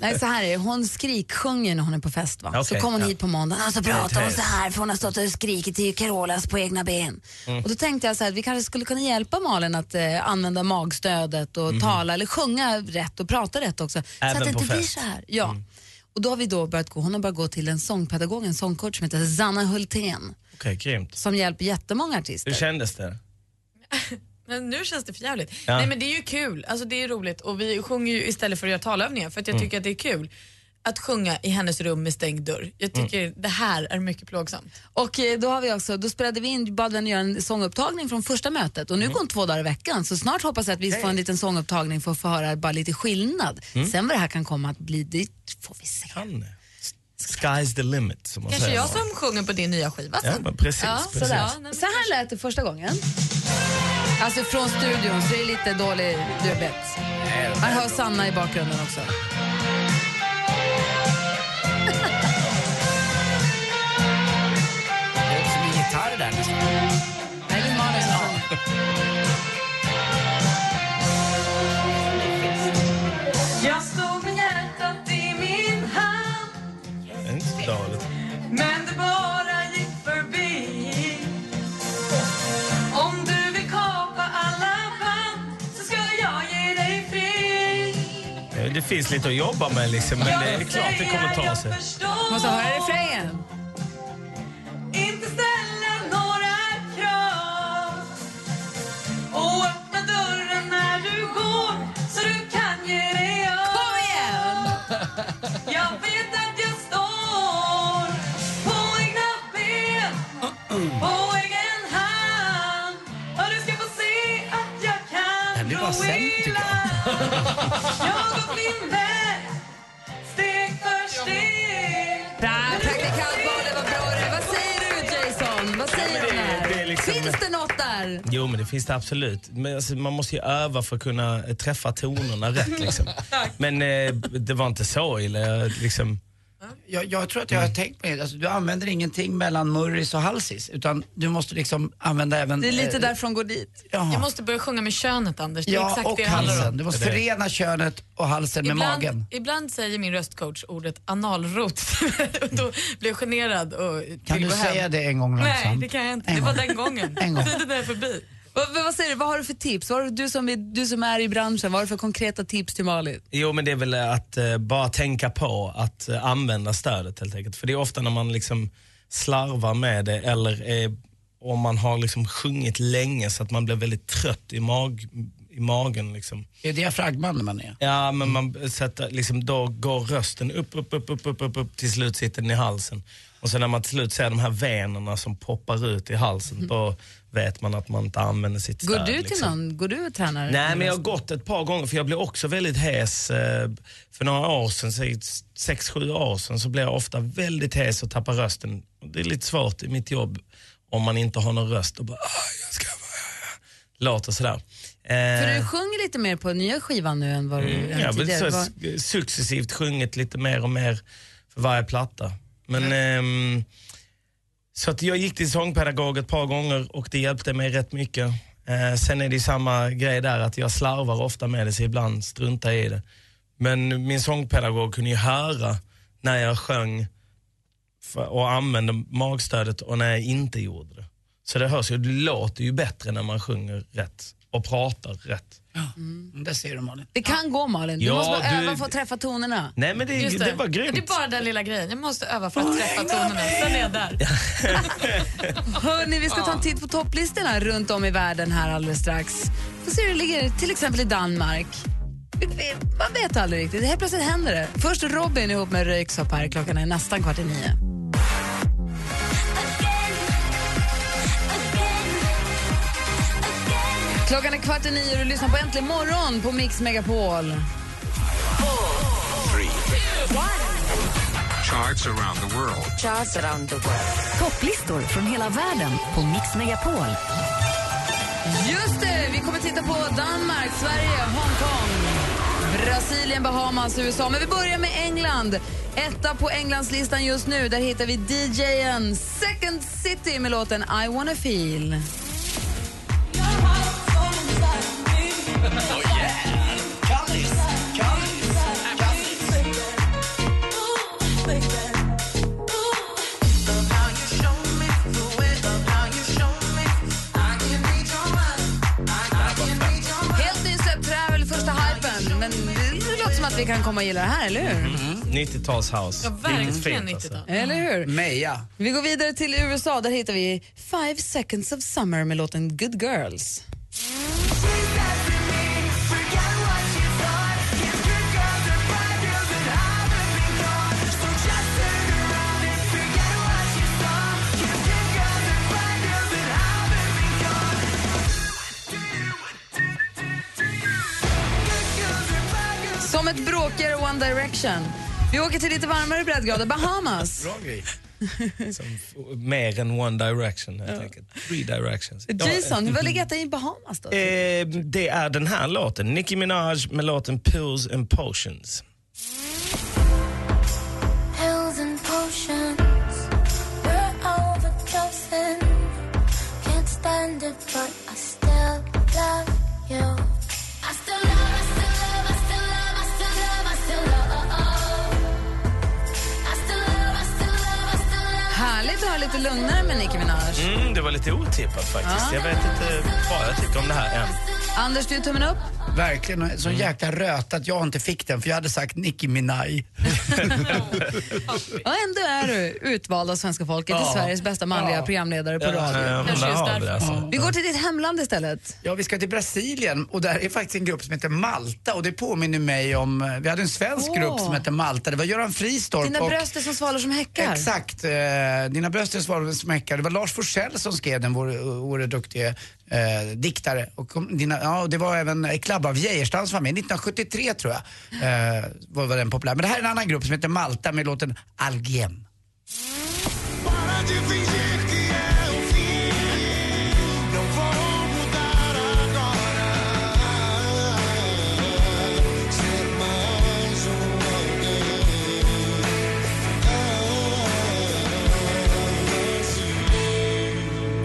Speaker 4: Nej, så här är det. Hon skriksjunger när hon är på fest. Va? så
Speaker 6: Okej,
Speaker 4: kom hon
Speaker 6: ja.
Speaker 4: hit på måndagen och så
Speaker 6: Det är
Speaker 4: Alltså, pratar hon
Speaker 6: trevligt.
Speaker 4: så här för hon har stått och skrikit till Carolas på egna ben.
Speaker 6: Mm.
Speaker 4: Och då tänkte jag så här, att vi kanske skulle kunna hjälpa Malin att eh, använda magstödet och tala eller sjunga rätt och prata rätt också. så
Speaker 6: Mhm. Även
Speaker 4: att det
Speaker 6: på
Speaker 4: inte blir
Speaker 6: fest. Mm.
Speaker 4: så här. Ja. Och då har vi då börjat gå, hon har börjat gå till en sångpedagog, en sångcoach som heter Zanna Hultén
Speaker 6: Okej, grymt.
Speaker 4: som hjälper jättemånga artister.
Speaker 6: Hur kändes det?
Speaker 2: Men nu känns det för jävligt.
Speaker 6: Ja.
Speaker 2: Nej men det är ju kul, alltså det är roligt och vi sjunger ju istället för att göra talövningar för att
Speaker 6: Mm.
Speaker 2: jag tycker att det är kul att sjunga i hennes rum med stängd dörr. Jag
Speaker 6: Mm.
Speaker 2: tycker det här är mycket plågsamt.
Speaker 4: Och eh, då, har vi också, då spelade vi in, bad henne göra en sångupptagning från första mötet och nu går hon två dagar i veckan så snart hoppas jag att vi får en liten sångupptagning för att få höra bara lite skillnad. Sen vad det här kan komma att bli, det får vi se.
Speaker 6: Kan det? Sky's the limit som man
Speaker 2: Kanske
Speaker 6: säger.
Speaker 2: jag som sjunger på din nya skiva
Speaker 6: Ja,
Speaker 2: sen.
Speaker 6: men precis.
Speaker 2: Ja,
Speaker 6: precis.
Speaker 4: Sådär.
Speaker 2: nej, men
Speaker 4: Så här lät det första gången. Alltså från studion så är det lite dålig dubbett. Man hör Sanna i bakgrunden också.
Speaker 5: Det är som en gitarr där nästan.
Speaker 4: Nej, det är Malin som sjunger.
Speaker 2: Jag stod med hjärtat i min hand
Speaker 6: Det är inte så dåligt.
Speaker 2: Men det bara gick förbi Om du vill kapa alla band Så ska jag ge dig fri
Speaker 6: Ja, Det finns lite att jobba med liksom, men det är klart det kommer ta sig.
Speaker 4: Måste höra refrängen.
Speaker 2: Inte ställa några krav Och öppna dörren när du går Så du kan ge dig av
Speaker 4: Kom igen!
Speaker 2: Jag vet att jag står på egna ben, på egen hand och du ska få se att jag
Speaker 5: Det här
Speaker 2: kan
Speaker 5: blir bara sämre, tycker jag.
Speaker 2: Jag har gått min väg, steg för steg
Speaker 4: Bra, Praktikant Malin, vad bra du är. Vad säger du Jason? Vad säger du
Speaker 6: men
Speaker 4: om det
Speaker 6: det- det
Speaker 4: här?
Speaker 6: är liksom-
Speaker 4: Finns det något där?
Speaker 6: Jo, men det finns det absolut. Men alltså, man måste ju öva för att kunna eh, träffa tonerna rätt. Liksom. Men eh, det var inte så illa. Jag, liksom,
Speaker 5: jag, jag tror att jag har tänkt på det. Alltså, du använder ingenting mellan Murris och Halsis utan du måste liksom använda även...
Speaker 4: Det är lite
Speaker 5: eh,
Speaker 4: därifrån går dit.
Speaker 5: jaha.
Speaker 2: Jag måste börja sjunga med könet, Anders. Det är
Speaker 5: ja,
Speaker 2: exakt
Speaker 5: och
Speaker 2: det det handlar om.
Speaker 5: halsen. Du måste
Speaker 6: Det är det.
Speaker 5: förena könet och halsen med
Speaker 2: Ibland,
Speaker 5: magen.
Speaker 2: ibland säger min röstcoach ordet analrot. Och Då blir jag generad och
Speaker 5: Kan
Speaker 2: vill
Speaker 5: du
Speaker 2: gå hem.
Speaker 5: säga det en gång
Speaker 2: Nej,
Speaker 5: långsamt?
Speaker 2: det kan jag inte. Det var den gången.
Speaker 5: En gång.
Speaker 2: Tiden är förbi.
Speaker 4: Vad, vad, vad säger du, vad har du för tips? Vad har du, du, som är, du som är i branschen, vad har du för konkreta tips till Malin?
Speaker 6: Jo, men det är väl att eh, bara tänka på att eh, använda stödet helt enkelt. För det är ofta när man liksom slarvar med det eller eh, om man har liksom sjungit länge så att man blir väldigt trött i, mag, i magen. Liksom.
Speaker 5: Det är diafragman när man är.
Speaker 6: Ja, men man sätter, liksom, då går rösten upp, upp, upp, upp, upp, upp, upp, till slut sitter den i halsen. Och sen när man till slut ser de här venerna som poppar ut i halsen, då vet man att man inte använder sitt
Speaker 4: Går
Speaker 6: stöd.
Speaker 4: du till
Speaker 6: liksom.
Speaker 4: någon? Går du och tränar?
Speaker 6: Nej, men jag har gått ett par gånger för jag blev också väldigt hes. eh, För några år sedan, säg sex, sju år sedan, så blev jag ofta väldigt hes och tappar rösten. Och Det är lite svårt i mitt jobb om man inte har någon röst och bara "Ah, jag ska vara... låter sådär.
Speaker 4: För
Speaker 6: Eh,
Speaker 4: du sjunger lite mer på nya skivan nu än vad du än
Speaker 6: jag har väl
Speaker 4: tidigare.
Speaker 6: Mm, så
Speaker 4: Vad-
Speaker 6: s- successivt sjungit lite mer och mer för varje platta. Men, ehm, så att jag gick till sångpedagog ett par gånger och det hjälpte mig rätt mycket. Eh, sen är det ju samma grej där att jag slarvar ofta med det så ibland struntar jag i det. Men min sångpedagog kunde ju höra när jag sjöng för, och använde magstödet och när jag inte gjorde det. Så det hörs ju, det låter ju bättre när man sjunger rätt och pratar rätt.
Speaker 5: Där Mm, ser du Malin.
Speaker 4: Det kan gå Malin, du
Speaker 6: Ja,
Speaker 4: måste bara
Speaker 6: du-
Speaker 4: öva för att träffa tonerna.
Speaker 6: Nej men det,
Speaker 2: Just
Speaker 6: det var grymt.
Speaker 2: Det är bara den lilla grejen. Jag måste öva för att träffa tonerna. Sen är jag där.
Speaker 4: Hörni, vi ska ta en titt på topplistorna runt om i världen här alldeles strax. Får se hur det ligger till exempel i Danmark. Vi- vi- Man vet aldrig riktigt. Helt plötsligt händer det. Först Robin ihop med Röyksopp här. Klockan är nästan kvart i nio. Klockan är kvart i nio och du lyssnar på Äntligen morgon på Mix Megapol.
Speaker 3: Topplistor från hela världen på Mix Megapol.
Speaker 4: Just det, vi kommer titta på Danmark, Sverige, Hongkong, Brasilien, Bahamas, USA. Men vi börjar med England. Etta på Englandslistan just nu, där hittar vi DJen Second City med låten I wanna feel. Helt ny släppt, det här är väl första hypen. Men det låter som att vi kan komma och gilla det här, eller hur?
Speaker 6: 90-talshouse.
Speaker 2: Ja, verkligen
Speaker 6: Fint, alltså.
Speaker 2: 90-tal.
Speaker 4: Eller hur?
Speaker 5: Meja.
Speaker 4: Vi går vidare till USA. Där hittar vi Five seconds of summer med låten Good Girls. Som ett bråkigare One Direction. Vi åker till lite varmare breddgrader, Bahamas.
Speaker 5: Bra grej.
Speaker 6: Som f- mer än one direction helt enkelt. Three directions. Ja,
Speaker 4: Jason, hur var ligger detta i Bahamas då?
Speaker 6: eh, det är den här låten. Nicki Minaj med låten Pills and Potions.
Speaker 4: Härligt att ha lite lugnare med Nicki Minaj.
Speaker 6: Mm, det var lite otippat faktiskt. Jag vet inte vad jag tycker om det här än.
Speaker 4: Anders, du är tummen upp.
Speaker 5: Verkligen, och så jäkla röt att jag inte fick den för jag hade sagt Nicki Minaj.
Speaker 4: Och ändå är du utvald av svenska folket till
Speaker 5: Ja.
Speaker 4: Sveriges bästa manliga programledare på radio.
Speaker 6: Eh, men där har vi det alltså.
Speaker 4: Vi går till ditt hemland istället.
Speaker 5: Ja, vi ska till Brasilien och där är faktiskt en grupp som heter Malta och det påminner mig om, eh, vi hade en svensk
Speaker 4: Åh.
Speaker 5: grupp som hette Malta, det var Göran Fristorp
Speaker 4: Dina
Speaker 5: och
Speaker 4: bröst är som svalor som häckar.
Speaker 5: Exakt. Eh, dina bröst är svarade med smäckar. Det var Lars Forsell som skrev den, vår, vår duktige eh, diktare. Och kom, dina, ja, och det var även eh, Klabbe av Geijerstams familj. 1973 tror jag eh, var, var den populär. Men det här är en annan grupp som heter Malta med låten Algen.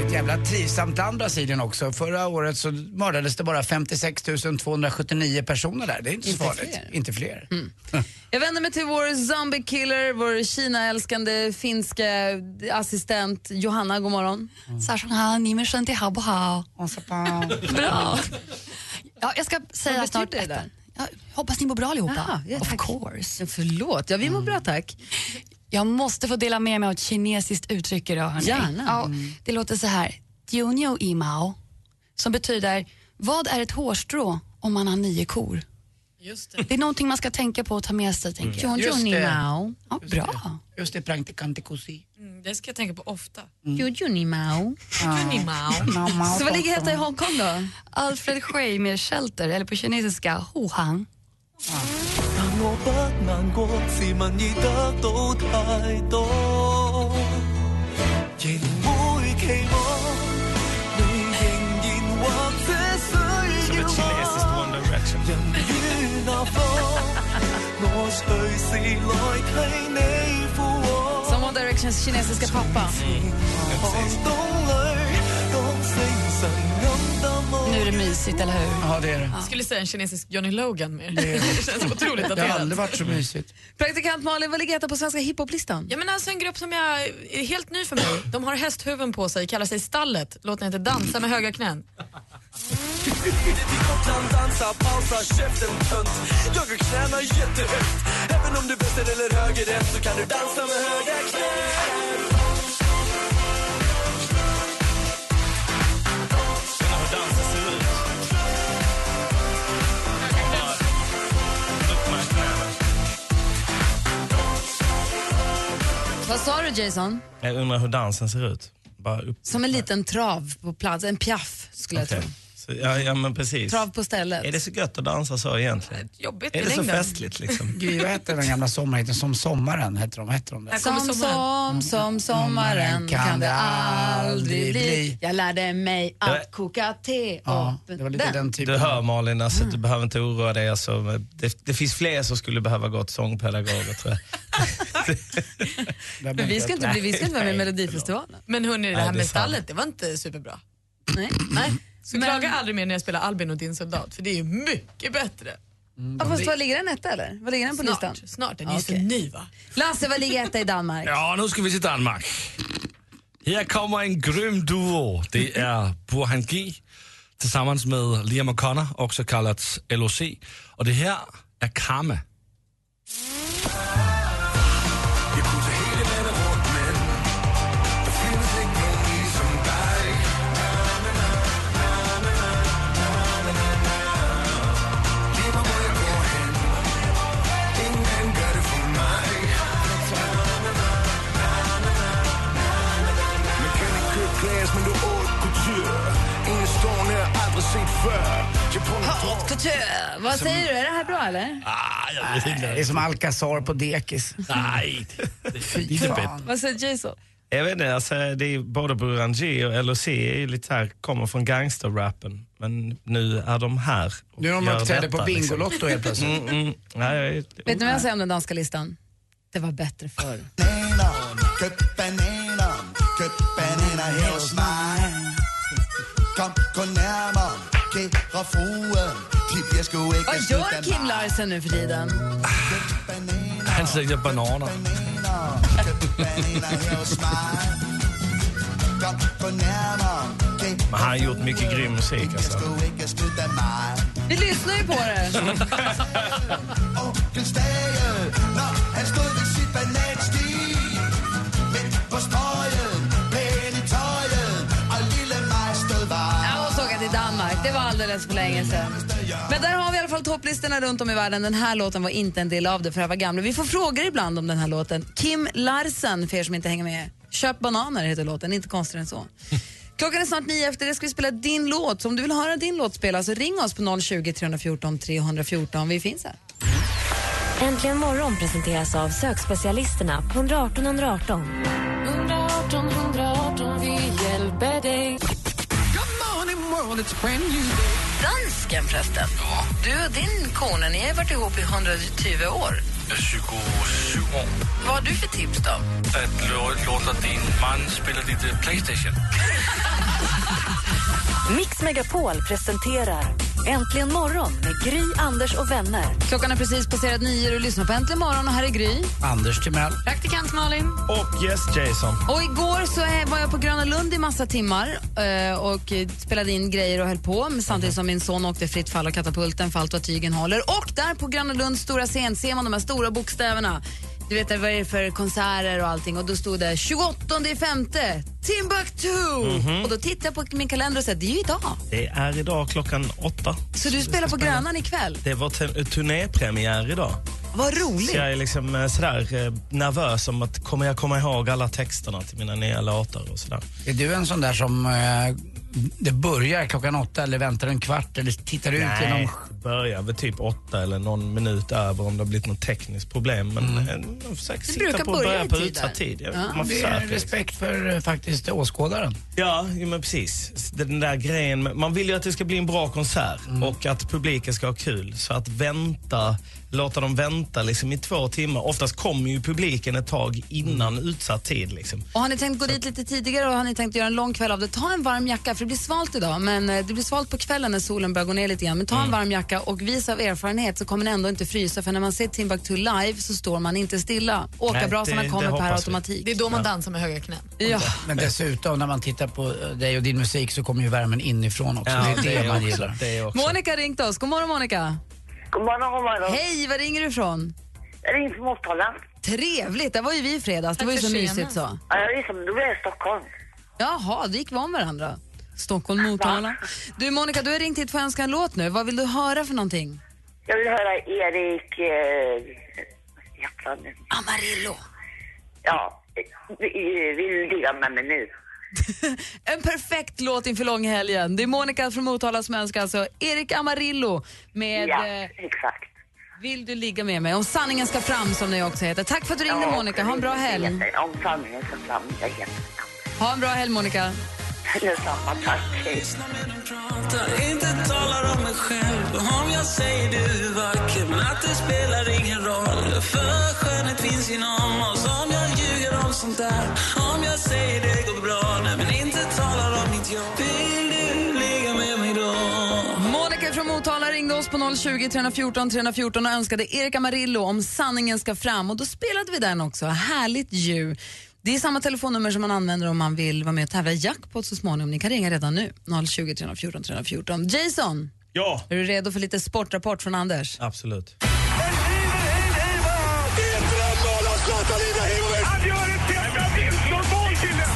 Speaker 5: Ett jävla trivsamt land Brasilien också. Förra året så mördades det bara 56 279 personer där. Det är inte så
Speaker 4: Inte
Speaker 5: farligt.
Speaker 4: fler. Mm.
Speaker 5: Inte fler.
Speaker 4: Jag vänder mig till vår zombie killer, vår Kina-älskande finska assistent Johanna. God morgon.
Speaker 8: Bra. Ja, jag ska säga
Speaker 4: Vad
Speaker 8: snart
Speaker 4: betyder det?
Speaker 8: ettan. Ja, hoppas ni mår bra allihopa.
Speaker 4: Jaha, ja,
Speaker 8: of
Speaker 4: tack.
Speaker 8: course.
Speaker 4: Förlåt, ja, vi mår bra tack.
Speaker 5: Mm.
Speaker 8: Jag måste få dela med mig av ett kinesiskt uttryck idag. Hörni.
Speaker 4: Gärna. Mm.
Speaker 8: Ja, det låter så här. Dionio imao. Som betyder, vad är ett hårstrå om man har nio kor?
Speaker 2: Just
Speaker 8: Det är någonting man ska tänka på och ta med sig. Tänker
Speaker 4: Mm.
Speaker 8: jag.
Speaker 5: Just det. Mm.
Speaker 4: Mao.
Speaker 8: Ja, bra.
Speaker 5: Just det, Prangticante Cosi.
Speaker 2: Mm, det ska jag tänka på ofta.
Speaker 4: Jujuni Mao.
Speaker 5: Ah.
Speaker 2: Kunimao.
Speaker 4: Så vad ligger detta i Hongkong då?
Speaker 8: Alfred Scheimer Shelter, eller på kinesiska, hohang.
Speaker 6: Som ett kinesiskt one direction.
Speaker 4: Som One Directions kinesiska pappa.
Speaker 8: Nu är det mysigt, eller hur?
Speaker 5: Ja, det är det.
Speaker 2: Jag skulle säga en kinesisk Johnny Logan mer. Det känns otroligt
Speaker 5: Det har
Speaker 2: daterat.
Speaker 5: aldrig varit så mysigt.
Speaker 4: Praktikant Malin, vad ligger detta på svenska hiphoplistan?
Speaker 2: Ja, men alltså en grupp som jag är helt ny för mig. De har hästhuven på sig, kallar sig Stallet. Låten heter Dansa med höga knän.
Speaker 6: Hur dansen ser ut.
Speaker 4: Vad sa du Jason?
Speaker 6: Jag undrar hur dansen ser ut. Bara upp.
Speaker 4: Som en liten trav på plats, en piaff skulle jag
Speaker 6: Okej.
Speaker 4: tro.
Speaker 6: Så, ja, ja, men precis.
Speaker 4: Trav på stället.
Speaker 6: Är det så gött att dansa så egentligen?
Speaker 2: Jobbigt
Speaker 6: Är
Speaker 2: i
Speaker 6: det så
Speaker 2: längden.
Speaker 6: festligt
Speaker 4: Typ.
Speaker 6: liksom?
Speaker 5: Gud, vad hette den gamla sommarhiten? Som sommaren hette de. Hette de det?
Speaker 4: Som, som, som sommaren
Speaker 5: Kan
Speaker 4: kan det
Speaker 5: det
Speaker 4: aldrig
Speaker 5: aldrig
Speaker 4: bli
Speaker 5: bli.
Speaker 4: Jag lärde mig
Speaker 6: Det var-
Speaker 4: att koka te
Speaker 5: Ja,
Speaker 4: och
Speaker 5: det var lite den typen.
Speaker 6: Du hör Malin, alltså,
Speaker 4: Mm.
Speaker 6: du behöver inte oroa dig. Alltså, det, det finns fler som skulle behöva gå till sångpedagoger tror jag.
Speaker 4: Men vi ska inte, bli, vi ska inte vara med i
Speaker 6: Nej,
Speaker 4: Melodifestivalen.
Speaker 2: Men hörni, det
Speaker 6: Nej,
Speaker 2: här
Speaker 6: det är
Speaker 2: med
Speaker 6: sant.
Speaker 2: stallet, det var inte superbra.
Speaker 4: Nej.
Speaker 2: Nej. Så klaga aldrig mer när jag spelar Albin och din soldat, för det är ju mycket bättre.
Speaker 4: Ja, fast var ligger den etta eller? Vad ligger den på listan?
Speaker 2: Snart, snart. Den är ju så
Speaker 4: Okej.
Speaker 2: ny va?
Speaker 4: Lasse, vad ligger etta i Danmark?
Speaker 9: Ja, nu ska vi till Danmark. Her kommer en grym duo. Det är Burhan G tillsammans med Liam O'Connor, också kallat LOC. Och det här är Karma.
Speaker 1: Man kan ikke købe glas, men du er haute couture. Ingen stående, jeg aldrig set før. Jeg prøver en
Speaker 4: Haute couture. Vad säger du, är det här bra eller?
Speaker 9: Ah, jag vet inte.
Speaker 5: Det är som Alcazar på dekis.
Speaker 9: Nej, det, det är lite bättre.
Speaker 4: Vad säger Jason?
Speaker 6: Jag vet inte, alltså, det är både Burhan G och LOC är ju lite här, kommer från gangsterrappen. Men nu är de här. och
Speaker 5: Nu är de
Speaker 6: gör
Speaker 5: uppträdde
Speaker 6: detta,
Speaker 5: på
Speaker 6: liksom.
Speaker 5: Bingolotto helt plötsligt.
Speaker 6: Mm, mm. Nej, jag är-
Speaker 4: Vet ni vad jag säger om den danska listan? Det var bättre förr.
Speaker 1: Køb bananer, køb bananer her hos mig. Kom, gå nærmere, kære fruen. De bliver sgu ikke
Speaker 4: Vad gör Kim Larsen nu för tiden?
Speaker 9: Han säljer bananer.
Speaker 6: Men han har gjort mycket grym musik alltså.
Speaker 4: Vi lyssnar ju på det. Jag måste åka till Danmark. Det var alldeles för länge sedan. Men där har vi i alla fall topplistorna runt om i världen. Den här låten var inte en del av det för jag var gamla. Vi får frågor ibland om den här låten. Kim Larsen, för er som inte hänger med. Köp bananer heter låten, inte konstigare än så. Klockan är snart nio, efter det ska vi spela din låt. Så om du vill höra din låt spelas, så ring oss på 020 314 314. Vi finns här.
Speaker 3: Äntligen morgon presenteras av sökspecialisterna på 118 118.
Speaker 4: Dansken förresten. Du och din kone, ni har varit ihop i 120 år.
Speaker 9: 27 år.
Speaker 4: Vad har du för tips då?
Speaker 9: Att låta din man spela lite Playstation.
Speaker 3: Mix Megapol presenterar Äntligen morgon med Gry, Anders och vänner.
Speaker 4: Klockan är precis passerat nio och du lyssnar på Äntligen morgon och här är Gry.
Speaker 5: Anders Timell.
Speaker 4: Praktikant Malin.
Speaker 6: Och Yes Jason.
Speaker 4: Och igår så eh, var jag på Gröna Lund i massa timmar eh, och eh, spelade in grejer och höll på men
Speaker 6: Mhm.
Speaker 4: samtidigt som min son åkte fritt fall och katapulten för allt vad tygen håller. Och där på Gröna Lunds stora scen ser man de här stora bokstäverna. Du vet vad det är för konserter och allting och då stod det 28 i femte Timbuktu!
Speaker 6: Mhm.
Speaker 4: Och då tittade jag på min kalender och sa det är ju idag.
Speaker 6: Det är idag klockan åtta.
Speaker 4: Så du spelar på Grönan ikväll.
Speaker 6: Det är vår te- turnépremiär idag.
Speaker 4: Vad
Speaker 6: Så
Speaker 4: roligt!
Speaker 6: jag är liksom eh, sådär eh, nervös om att kommer jag komma ihåg alla texterna till mina nya låtar och sådär.
Speaker 5: Är du en sån där som eh, det börjar klockan åtta eller väntar en kvart eller tittar ut genom...
Speaker 6: det börjar väl typ åtta eller någon minut över om det har blivit något tekniskt problem. Men mm. man försöker
Speaker 4: brukar
Speaker 6: sikta på att
Speaker 4: börja
Speaker 6: börja
Speaker 4: i
Speaker 6: på
Speaker 4: tid
Speaker 6: utsatt
Speaker 4: där.
Speaker 6: tid. Ja,
Speaker 4: Ja.
Speaker 6: Man
Speaker 5: Det är
Speaker 6: försöker. liksom.
Speaker 5: respekt för eh, faktiskt åskådaren.
Speaker 6: Ja, jo, men precis. Den där grejen. med- Man vill ju att det ska bli en bra konsert
Speaker 5: Mm.
Speaker 6: och att publiken ska ha kul. Så att vänta, låta dem vänta liksom i två timmar. Oftast kommer ju publiken ett tag innan
Speaker 5: Mm.
Speaker 6: utsatt tid. Liksom.
Speaker 4: Och har ni tänkt gå dit lite tidigare och har ni tänkt göra en lång kväll av det, ta en varm jacka för det blir svalt idag men eh, det blir svalt på kvällen när solen börjar gå ner lite grann. Men ta
Speaker 6: Mm.
Speaker 4: en varm jacka och vis av erfarenhet så kommer ni ändå inte frysa för när man ser Timbuktu live så står man inte stilla.
Speaker 6: Nej,
Speaker 4: Åkabrasorna
Speaker 6: det-
Speaker 4: kommer
Speaker 6: det
Speaker 4: per
Speaker 6: hoppas vi.
Speaker 4: automatik.
Speaker 2: Det är då man dansar med höga knän.
Speaker 4: Ja.
Speaker 5: Men dessutom när man tittar på eh, dig och din musik så kommer ju värmen inifrån också. det är det, man gillar.
Speaker 6: Det är också.
Speaker 4: Monica har ringt oss. God morgon Monica.
Speaker 1: God morgon, god morgon.
Speaker 4: Hej, var ringer du ifrån?
Speaker 1: Jag ringer från Motala.
Speaker 4: Trevligt, där var ju vi i fredags. Det var ju
Speaker 2: för
Speaker 4: så
Speaker 2: tjejerna.
Speaker 4: mysigt så.
Speaker 1: Ja, Jag är som du är i Stockholm.
Speaker 4: Jaha, då gick vi om varandra. Stockholm, Motala. Du Monica, du har ringt hit för att önska en låt nu. Vad vill du höra för någonting?
Speaker 1: Jag vill höra Erik... Eh, jäklar nu.
Speaker 4: Amarillo.
Speaker 10: Ja, vi vill leva med mig nu.
Speaker 4: En perfekt låt inför långhelgen. Det är Monica från Motala som önskar alltså Erik Amarillo med
Speaker 10: Ja,
Speaker 4: eh,
Speaker 10: exakt.
Speaker 4: Vill du ligga med mig? Om sanningen ska fram som den också heter. Tack för att du ringde
Speaker 10: Ja,
Speaker 4: Monica. Ha en bra
Speaker 10: det
Speaker 4: helg.
Speaker 10: heter- Om sanningen ska fram, det heter
Speaker 4: Ha en bra helg Monica.
Speaker 10: Detsamma, tack. Hej.
Speaker 11: pratar, inte talar om mig själv. Om jag säger du är vacker, men att det spelar ingen roll. För skönhet finns inom oss. Om jag ljuger om sånt där. Om jag säger det går bra, nej, men inte talar om mitt jobb. Vill du ligga med mig då?
Speaker 4: Monica från Motala ringde oss på 020 314 314 och önskade Erik Amarillo om sanningen ska fram och då spelade vi den också. Härligt ju. Det är samma telefonnummer som man använder om man vill vara med och tävla i jackpot så småningom. Ni kan ringa redan nu. 020 314 314. Jason,
Speaker 6: Ja.
Speaker 4: är du redo för lite sportrapport från Anders?
Speaker 6: Absolut.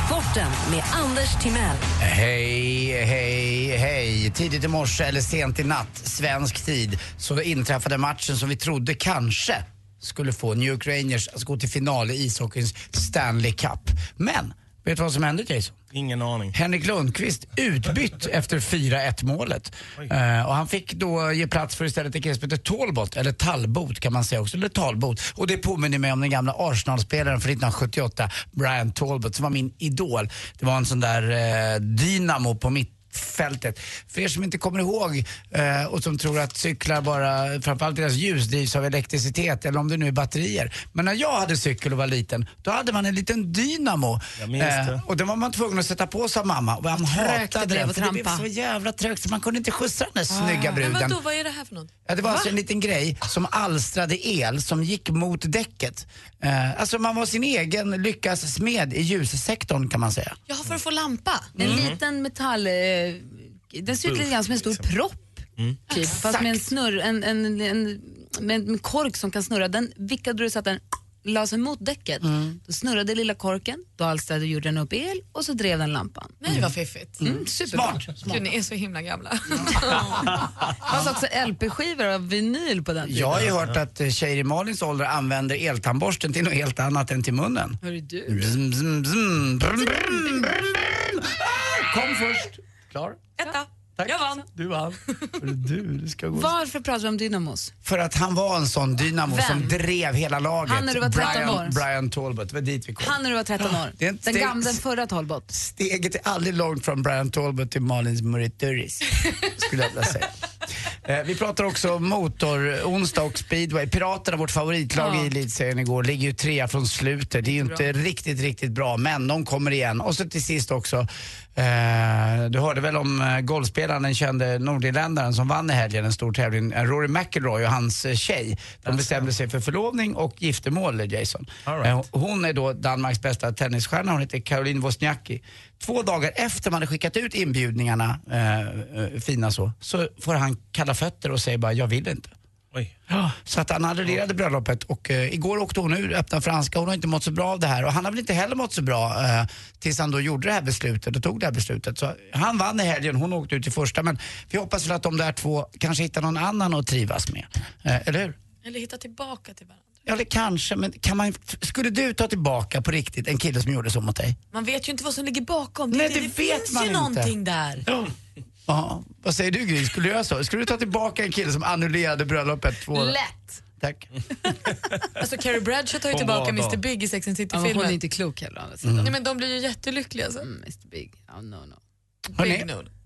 Speaker 3: Sporten med Anders Timell.
Speaker 5: Hej, hej, hej. Tidigt i morse eller sent i natt, svensk tid, så inträffade matchen som vi trodde kanske skulle få New York Rangers att gå till final i ishockeyns Stanley Cup. Men, vet du vad som hände Jason?
Speaker 6: Ingen aning.
Speaker 5: Henrik Lundqvist utbytt efter 4-1 målet. Eh, och han fick då ge plats för istället en kille som heter Talbot, eller Talbot kan man säga också, eller Talbot. Och det påminner mig om den gamla Arsenal-spelaren från 1978, Brian Talbot, som var min idol. Det var en sån där eh, dynamo på mitt fältet. För er som inte kommer ihåg eh, och som tror att cyklar bara, framförallt deras ljus drivs av elektricitet eller om det nu är batterier. Men när jag hade cykel och var liten, då hade man en liten dynamo. Eh,
Speaker 6: Jag minns det.
Speaker 5: och den var man tvungen att sätta på sig av mamma. Och han
Speaker 4: trögt det
Speaker 5: hatade
Speaker 4: blev
Speaker 5: den,
Speaker 4: att
Speaker 5: för det blev
Speaker 4: trampa. Ah.
Speaker 5: så jävla trögt så man kunde inte skjutsa den där snygga
Speaker 2: Men
Speaker 5: bruden.
Speaker 2: vadå, vad är det här för något?
Speaker 5: Ja, det var alltså en liten grej som alstrade el som gick mot däcket. Eh, alltså man var sin egen lyckas smed i ljussektorn kan man säga.
Speaker 4: Ja, för att få lampa. En
Speaker 5: Mm.
Speaker 4: liten metall... Eh, den ser ut lite grann som en stor
Speaker 5: liksom.
Speaker 4: propp.
Speaker 5: Mm.
Speaker 4: Typ, fast med en snurr, en, en, en, med en kork som kan snurra. Den vickade du så att den la sig mot däcket. Då snurrade lilla korken, då alstrade jorden upp el och så drev den lampan.
Speaker 2: Nej, vad fiffigt.
Speaker 4: Mm, superbra. Smart, smart.
Speaker 2: Gud, ni är så himla gamla.
Speaker 4: Det fanns också LP-skivor av vinyl på den tiden.
Speaker 5: Jag har ju hört att eh, tjejer i Malins ålder använder eltandborsten till något helt annat än till munnen.
Speaker 4: Hörru du.
Speaker 5: Bzm, bzm, bzm, brum, brum, brum, brum. Ah, Kom först. Klar.
Speaker 2: Etta.
Speaker 5: Tack.
Speaker 2: Jag vann.
Speaker 5: Du vann. Hörru Du, det ska gå.
Speaker 4: Varför pratar vi om dynamos?
Speaker 5: För att han var en sån dynamo
Speaker 4: Vem?
Speaker 5: som drev hela laget.
Speaker 4: Han när du var 13
Speaker 5: Brian,
Speaker 4: år.
Speaker 5: Brian Talbot, det var dit vi kom.
Speaker 4: Han när du var 13 år.
Speaker 5: Det är en
Speaker 4: Den
Speaker 5: steg-
Speaker 4: gamla, den förra Talbot.
Speaker 5: Steget är aldrig långt från Brian Talbot till Malins Murituris, skulle jag vilja säga. Eh, Vi pratar också om motor, onsdag och speedway. Piraterna, vårt favoritlag
Speaker 12: Ja.
Speaker 5: i elitserien igår, ligger ju trea från slutet. Det är ju inte riktigt, riktigt bra, men de kommer igen. Och så till sist också, eh, du hörde väl om eh, golfspelaren, den kände nordirländaren som vann i helgen en stor tävling, eh, Rory McIlroy och hans eh, tjej. De bestämde sig för förlovning och giftermål, Jason. Eh, Hon är då Danmarks bästa tennisstjärna, hon heter Caroline Wozniacki. Två dagar efter man hade skickat ut inbjudningarna, eh, eh, fina så, så får han kalla fötter och säger bara jag vill inte. Ja, så att han annullerade bröllopet och eh, igår åkte hon ur öppna franska. Hon har inte mått så bra av det här och han har väl inte heller mått så bra eh, tills han då gjorde det här beslutet och tog det här beslutet. Så han vann i helgen, hon åkte ut i första men vi hoppas väl att de där två kanske hittar någon annan att trivas med. Eh, eller hur?
Speaker 2: Eller hitta tillbaka till varandra.
Speaker 5: Ja, det kanske, men kan man, skulle du ta tillbaka på riktigt en kille som gjorde så mot dig?
Speaker 2: Man vet ju inte vad som ligger bakom. Det,
Speaker 5: Nej,
Speaker 2: det,
Speaker 5: det vet
Speaker 2: finns
Speaker 5: man
Speaker 2: ju
Speaker 5: inte.
Speaker 2: någonting där.
Speaker 5: Ja, vad säger du Gry, skulle du göra så? Skulle du ta tillbaka en kille som annullerade bröllopet två
Speaker 2: Lätt.
Speaker 5: Tack.
Speaker 2: Alltså Carrie Bradshaw tar ju
Speaker 5: Hon
Speaker 2: tillbaka
Speaker 5: var-
Speaker 2: Mr Big i Sex
Speaker 4: Ja,
Speaker 2: and
Speaker 4: men
Speaker 2: City-filmen.
Speaker 4: hon är inte klok heller. å andra
Speaker 5: Mm.
Speaker 4: sidan.
Speaker 2: Nej men de blir ju jättelyckliga alltså. sen.
Speaker 4: Mr Big, oh, no no.
Speaker 5: Hörrni, eh,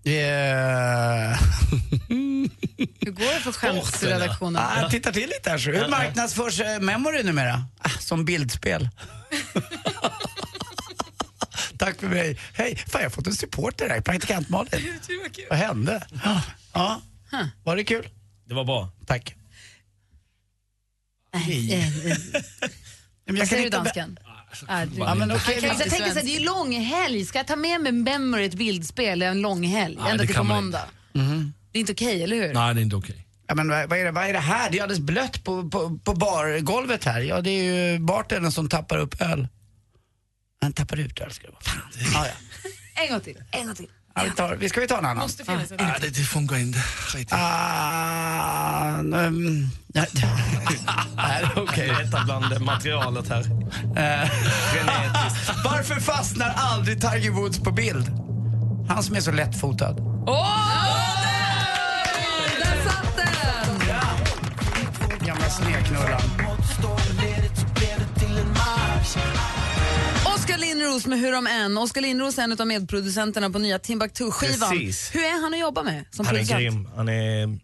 Speaker 4: Hur går det för skämtsredaktionen?
Speaker 5: Ah, jag tittar till lite här. så. Hur marknadsförs eh, Memory numera? Ah, som bildspel. Tack för mig. Hej, fan jag har fått en supporter här, praktikant Malin. Vad hände? Ja, Ja. var det kul?
Speaker 6: Det var bra.
Speaker 5: Tack. Hej. Men
Speaker 4: Vad
Speaker 5: jag
Speaker 4: säger
Speaker 5: kan
Speaker 4: du
Speaker 5: inte-
Speaker 4: dansken? Ah, du-
Speaker 5: Ja, men okej,
Speaker 4: Han
Speaker 5: men-
Speaker 4: kan- jag tänker så här, det är ju långhelg. Ska jag ta med mig Memory ett bildspel en långhelg
Speaker 5: Nej,
Speaker 4: ända
Speaker 5: det
Speaker 4: till på
Speaker 5: kan man
Speaker 4: måndag?
Speaker 5: Mhm.
Speaker 4: Det är inte okej, eller hur?
Speaker 5: Nej, det är inte okej. Ja, men vad, vad, är det, vad är det här? Det är alldeles blött på, på, på bargolvet här. Ja, det är ju bartendern som tappar upp öl. Han tappar ut öl, ska det vara. Fan. Ja, ja.
Speaker 4: En gång till, en gång till.
Speaker 5: Ja, vi, tar, vi ska vi ta en annan? Måste
Speaker 4: finnas
Speaker 5: ah, det, det funkar ehm, inte riktigt. Ah, um, nej, det- nej, det är okej. Eh.
Speaker 6: okay. leta bland materialet här.
Speaker 5: Varför fastnar aldrig Tiger Woods på bild? Han som är så lättfotad.
Speaker 4: Åh! där! Där satt den!
Speaker 5: Gamla sneknullan.
Speaker 4: Oskar Lindros med Hur om än. Oskar Lindros är en av medproducenterna på nya Timbuktu-skivan.
Speaker 6: Precis.
Speaker 4: Hur är han att jobba med som
Speaker 6: Han är
Speaker 4: producent?
Speaker 6: grym. Han är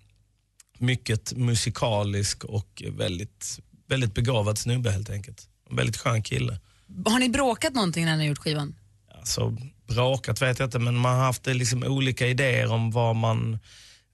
Speaker 6: mycket musikalisk och väldigt, väldigt begåvad snubbe helt enkelt. En väldigt skön kille.
Speaker 4: Har ni bråkat någonting när ni har gjort skivan?
Speaker 6: Alltså, bråkat vet jag inte men man har haft eh, liksom olika idéer om var man,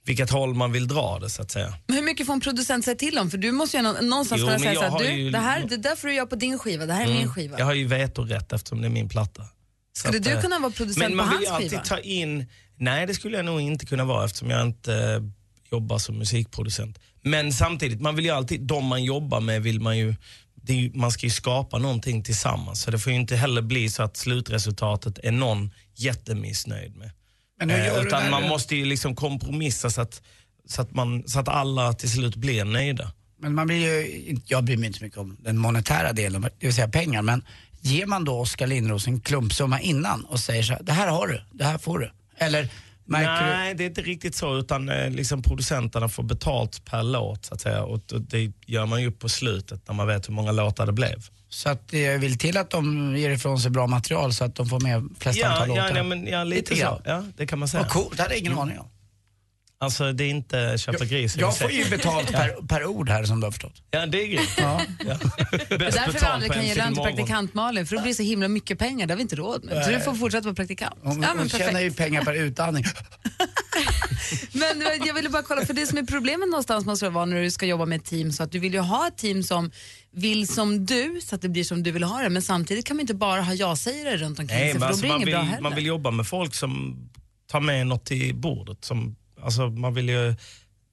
Speaker 6: vilket håll man vill dra det så att säga.
Speaker 4: Men hur mycket får en producent säga till om? För du måste ju nå- någonstans
Speaker 6: Jo,
Speaker 4: kunna
Speaker 6: men
Speaker 4: säga
Speaker 6: jag
Speaker 4: såhär,
Speaker 6: har
Speaker 4: du,
Speaker 6: ju-
Speaker 4: det, här, det där får du göra på din skiva, det här är min
Speaker 6: Mm.
Speaker 4: skiva.
Speaker 6: Jag har ju vetorätt eftersom det är min platta. Så
Speaker 4: Skulle du
Speaker 6: eh,
Speaker 4: kunna vara producent
Speaker 6: men
Speaker 4: på
Speaker 6: man vill
Speaker 4: hans
Speaker 6: ju alltid
Speaker 4: skiva?
Speaker 6: ta in, nej det skulle jag nog inte kunna vara eftersom jag inte eh, jobbar som musikproducent. Men samtidigt, man vill ju alltid, de man jobbar med vill man ju, det är ju man ska ju skapa någonting tillsammans. Så det får ju inte heller bli så att slutresultatet är någon jättemissnöjd med.
Speaker 5: Men hur
Speaker 6: Eh,
Speaker 5: gör du
Speaker 6: utan
Speaker 5: när
Speaker 6: man
Speaker 5: du-
Speaker 6: måste ju liksom kompromissa så att, så, att man, så att alla till slut blir nöjda.
Speaker 5: Men man blir ju, inte- jag bryr mig inte så mycket om den monetära delen, det vill säga pengar, men ger man då Oskar Lindros en klumpsumma innan och säger så här, det här har du, det här får du. Eller märker du?
Speaker 6: Nej, det är inte riktigt så. Utan eh, liksom producenterna får betalt per låt. Så att säga. Och och det gör man ju upp på slutet när man vet hur många låtar det blev.
Speaker 5: Så att det vill till att de ger ifrån sig bra material så att de får med flest
Speaker 6: Ja,
Speaker 5: antal
Speaker 6: ja,
Speaker 5: låtar.
Speaker 6: ja, men, ja lite, så. Ja, det kan man säga.
Speaker 5: Vad coolt, det hade jag ingen aning om.
Speaker 6: Alltså det är inte köpa gris.
Speaker 5: Jag får ju betalt per, per ord här som du har förstått.
Speaker 6: Ja, det är grymt.
Speaker 4: Det är därför vi aldrig kan ge lön till praktikant Malin, för då blir det så himla mycket pengar, det har vi inte råd med. Så
Speaker 5: Nej.
Speaker 4: du får fortsätta vara praktikant.
Speaker 5: Hon,
Speaker 4: ja, men
Speaker 5: hon tjänar
Speaker 4: perfekt.
Speaker 5: ju pengar per utandning.
Speaker 4: Men eh, jag ville bara kolla, för det som är problemet någonstans måste det vara när du ska jobba med ett team, så att du vill ju ha ett team som vill som du, så att det blir som du vill ha det, men samtidigt kan man inte bara ha ja-sägare runt omkring
Speaker 6: Nej, men
Speaker 4: sig, för då
Speaker 6: alltså,
Speaker 4: blir det
Speaker 6: man,
Speaker 4: inget bra
Speaker 6: vill,
Speaker 4: heller.
Speaker 6: man vill jobba med folk som tar med något till bordet. Som, alltså, man vill ju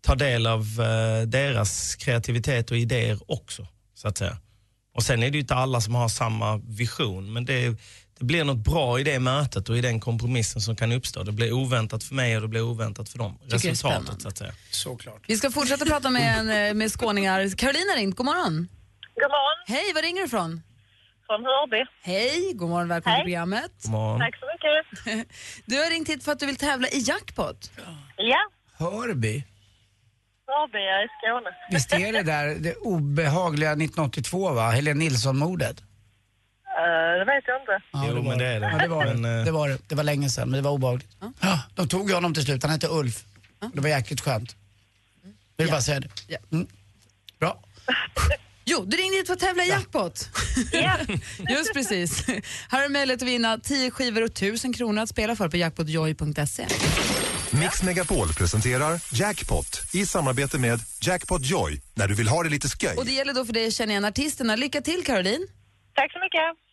Speaker 6: ta del av eh, deras kreativitet och idéer också. Så att säga. Och sen är det ju inte alla som har samma vision. Men det, det blir något bra i det mötet och i den kompromissen som kan uppstå. Det blir oväntat för mig och det blir oväntat för dem.
Speaker 4: det är
Speaker 6: Resultatet
Speaker 4: spännande.
Speaker 6: så att säga.
Speaker 5: Såklart.
Speaker 4: Vi ska fortsätta prata med, en, eh, med skåningar. Carolina har ringt, god morgon.
Speaker 12: God morgon.
Speaker 4: Hej, var ringer du ifrån?
Speaker 12: Från Hörby.
Speaker 4: Hej, god morgon, välkommen
Speaker 12: Hej.
Speaker 4: till programmet.
Speaker 6: God morgon.
Speaker 12: Tack så mycket.
Speaker 4: Du har ringt hit för att du vill tävla i jackpot.
Speaker 12: Ja,
Speaker 5: Hörby.
Speaker 12: Hörby är i Skåne.
Speaker 5: Visst är det där det obehagliga 1982 va? Helen Nilsson-mordet?
Speaker 12: Eh, det vet jag inte.
Speaker 5: Ja, det var
Speaker 6: men det är det.
Speaker 5: Ja, det, var
Speaker 6: Men,
Speaker 5: det.
Speaker 6: eh,
Speaker 5: det var det. Det var länge sedan, men det var obehagligt. Ja, de tog ju honom till slut. Han hette Ulf. Det var jäkligt skönt. Vill bara säga det.
Speaker 4: Ja.
Speaker 5: Mm. Bra.
Speaker 4: Jo, du ringde hit för att tävla i jackpot. Ja. Just precis. Här är möjlighet att vinna 10 skivor och 1000 kronor att spela för på jackpotjoy.se.
Speaker 13: Mix Megapol presenterar Jackpot i samarbete med Jackpot Joy när du vill ha det lite skoj.
Speaker 4: Och det gäller då för dig att känna igen artisterna. Lycka till Caroline.
Speaker 12: Tack så mycket.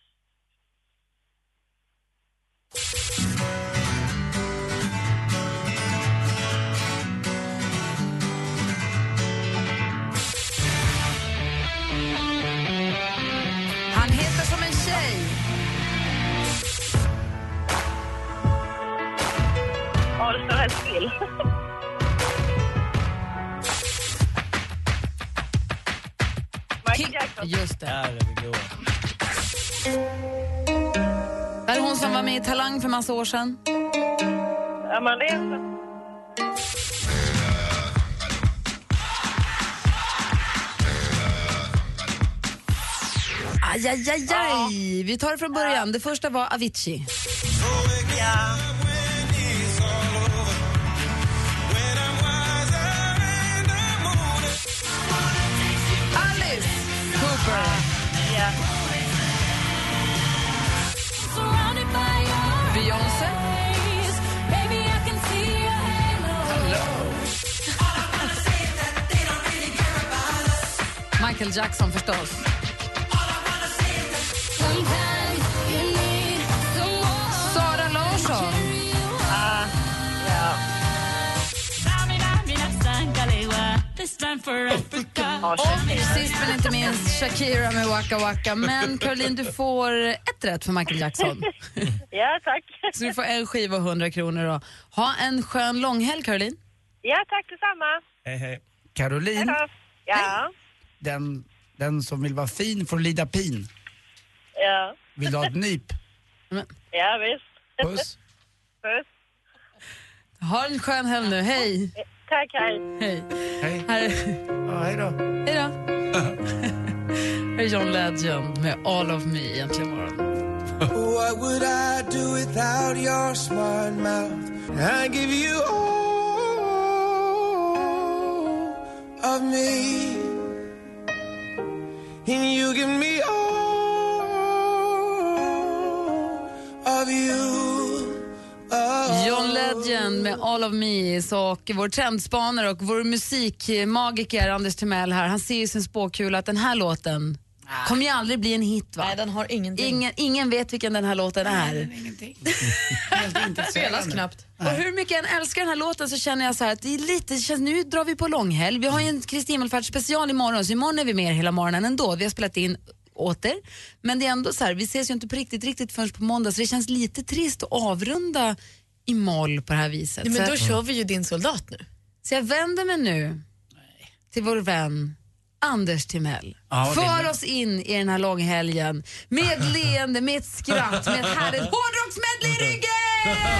Speaker 4: Han heter som en tjej.
Speaker 12: Ja, det står helt still.
Speaker 4: Ki- Just det.
Speaker 6: Där är vi goa.
Speaker 4: Det här är hon som var med i Talang för massa år sedan.
Speaker 12: Amanda
Speaker 4: Aj, aj, aj, aj. Vi tar det från början. Det första var Avicii.
Speaker 12: Ja.
Speaker 4: Alice Cooper.
Speaker 12: Ja.
Speaker 4: Beyoncé. Michael Jackson förstås. Sara Larsson. Och sist men inte minst Shakira med Waka Waka. Men Caroline, du får ett rätt för Michael Jackson.
Speaker 12: ja, tack.
Speaker 4: Så du får en skiva och 100 kronor. Då. Ha en skön långhelg, Caroline.
Speaker 12: Ja, tack detsamma.
Speaker 6: Hej, hej.
Speaker 5: Caroline,
Speaker 12: Hej då. Ja.
Speaker 5: den
Speaker 14: Den som vill vara fin får lida pin.
Speaker 7: Ja.
Speaker 14: Vill du ha ett nyp?
Speaker 7: Ja, visst.
Speaker 14: Puss.
Speaker 7: Puss.
Speaker 4: Ha en skön helg nu. Hej!
Speaker 7: Tack, hej.
Speaker 4: Hej.
Speaker 14: Hej.
Speaker 4: Ja,
Speaker 14: hej då.
Speaker 4: Hej då. Här är John Legend med All of me egentligen morgon.
Speaker 5: What would I do without your smart mouth? I give you all of me. And you give me all of you.
Speaker 4: John Legend med All of me och vår trendspanare och vår musikmagiker Anders Timell här, han ser i sin spåkula att den här låten kommer ju aldrig bli en hit va? Nej,
Speaker 15: den har ingenting.
Speaker 4: Ingen, ingen vet vilken den här låten är.
Speaker 15: Spelas knappt.
Speaker 4: Och hur mycket jag än älskar den här låten så känner jag så här att det är lite, det känns, nu drar vi på långhelg. Vi har ju en Kristi Himmelfärd special imorgon så imorgon är vi med er hela morgonen ändå. Vi har spelat in åter. Men det är ändå så här, vi ses ju inte på riktigt, riktigt förrän på måndag så det känns lite trist att avrunda i moll på det här viset.
Speaker 15: Nej, men
Speaker 4: så
Speaker 15: då
Speaker 4: jag-
Speaker 15: kör vi ju din soldat nu.
Speaker 4: Så jag vänder mig nu till vår vän Anders Timell.
Speaker 15: Ja, det är
Speaker 4: För
Speaker 15: bra.
Speaker 4: oss in i den här långhelgen med ett leende, med ett skratt, med ett härligt hårdrocksmedley i ryggen!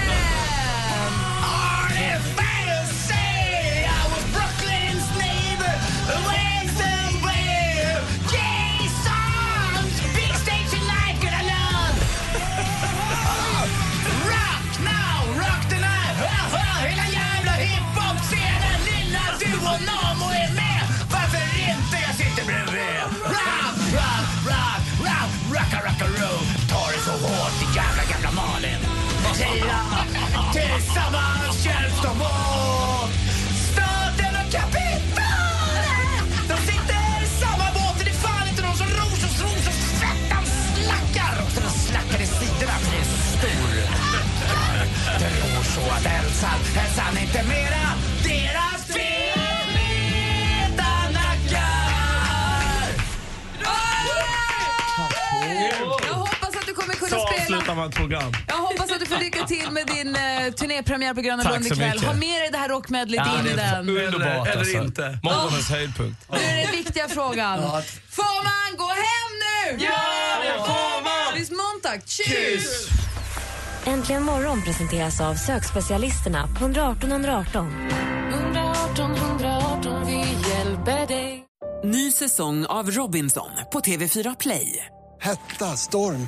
Speaker 5: Tillsammans hjälps de åt Staten och kapitalet De sitter i samma båt Det är fan inte någon som ros och stros och svettan slackar Och den slackar i sidorna blir stor Tror så att hälsan, hälsan inte mera Deras fel Vita nackar
Speaker 4: Jag hoppas att du kommer kunna
Speaker 6: Så
Speaker 4: spela
Speaker 6: avslutar man ett program.
Speaker 4: Jag hoppas att du får lycka till med din eh, turnépremiär på Gröna
Speaker 6: Tack
Speaker 4: Lund
Speaker 6: så
Speaker 4: ikväll.
Speaker 6: mycket.
Speaker 4: Ha med dig det här rockmedlet in i den.
Speaker 6: Underbart
Speaker 9: eller
Speaker 6: alltså.
Speaker 9: inte.
Speaker 6: Morgonens höjdpunkt.
Speaker 4: Nu är den viktiga frågan.
Speaker 6: Ja.
Speaker 4: Får man gå hem nu?
Speaker 5: Ja, det får man!
Speaker 4: Visst Montag? Tjus!
Speaker 2: Äntligen morgon presenteras av sökspecialisterna på 118 118.
Speaker 11: 118 118, vi hjälper dig. Ny säsong av Robinson på TV4 Play.
Speaker 16: Hetta, storm,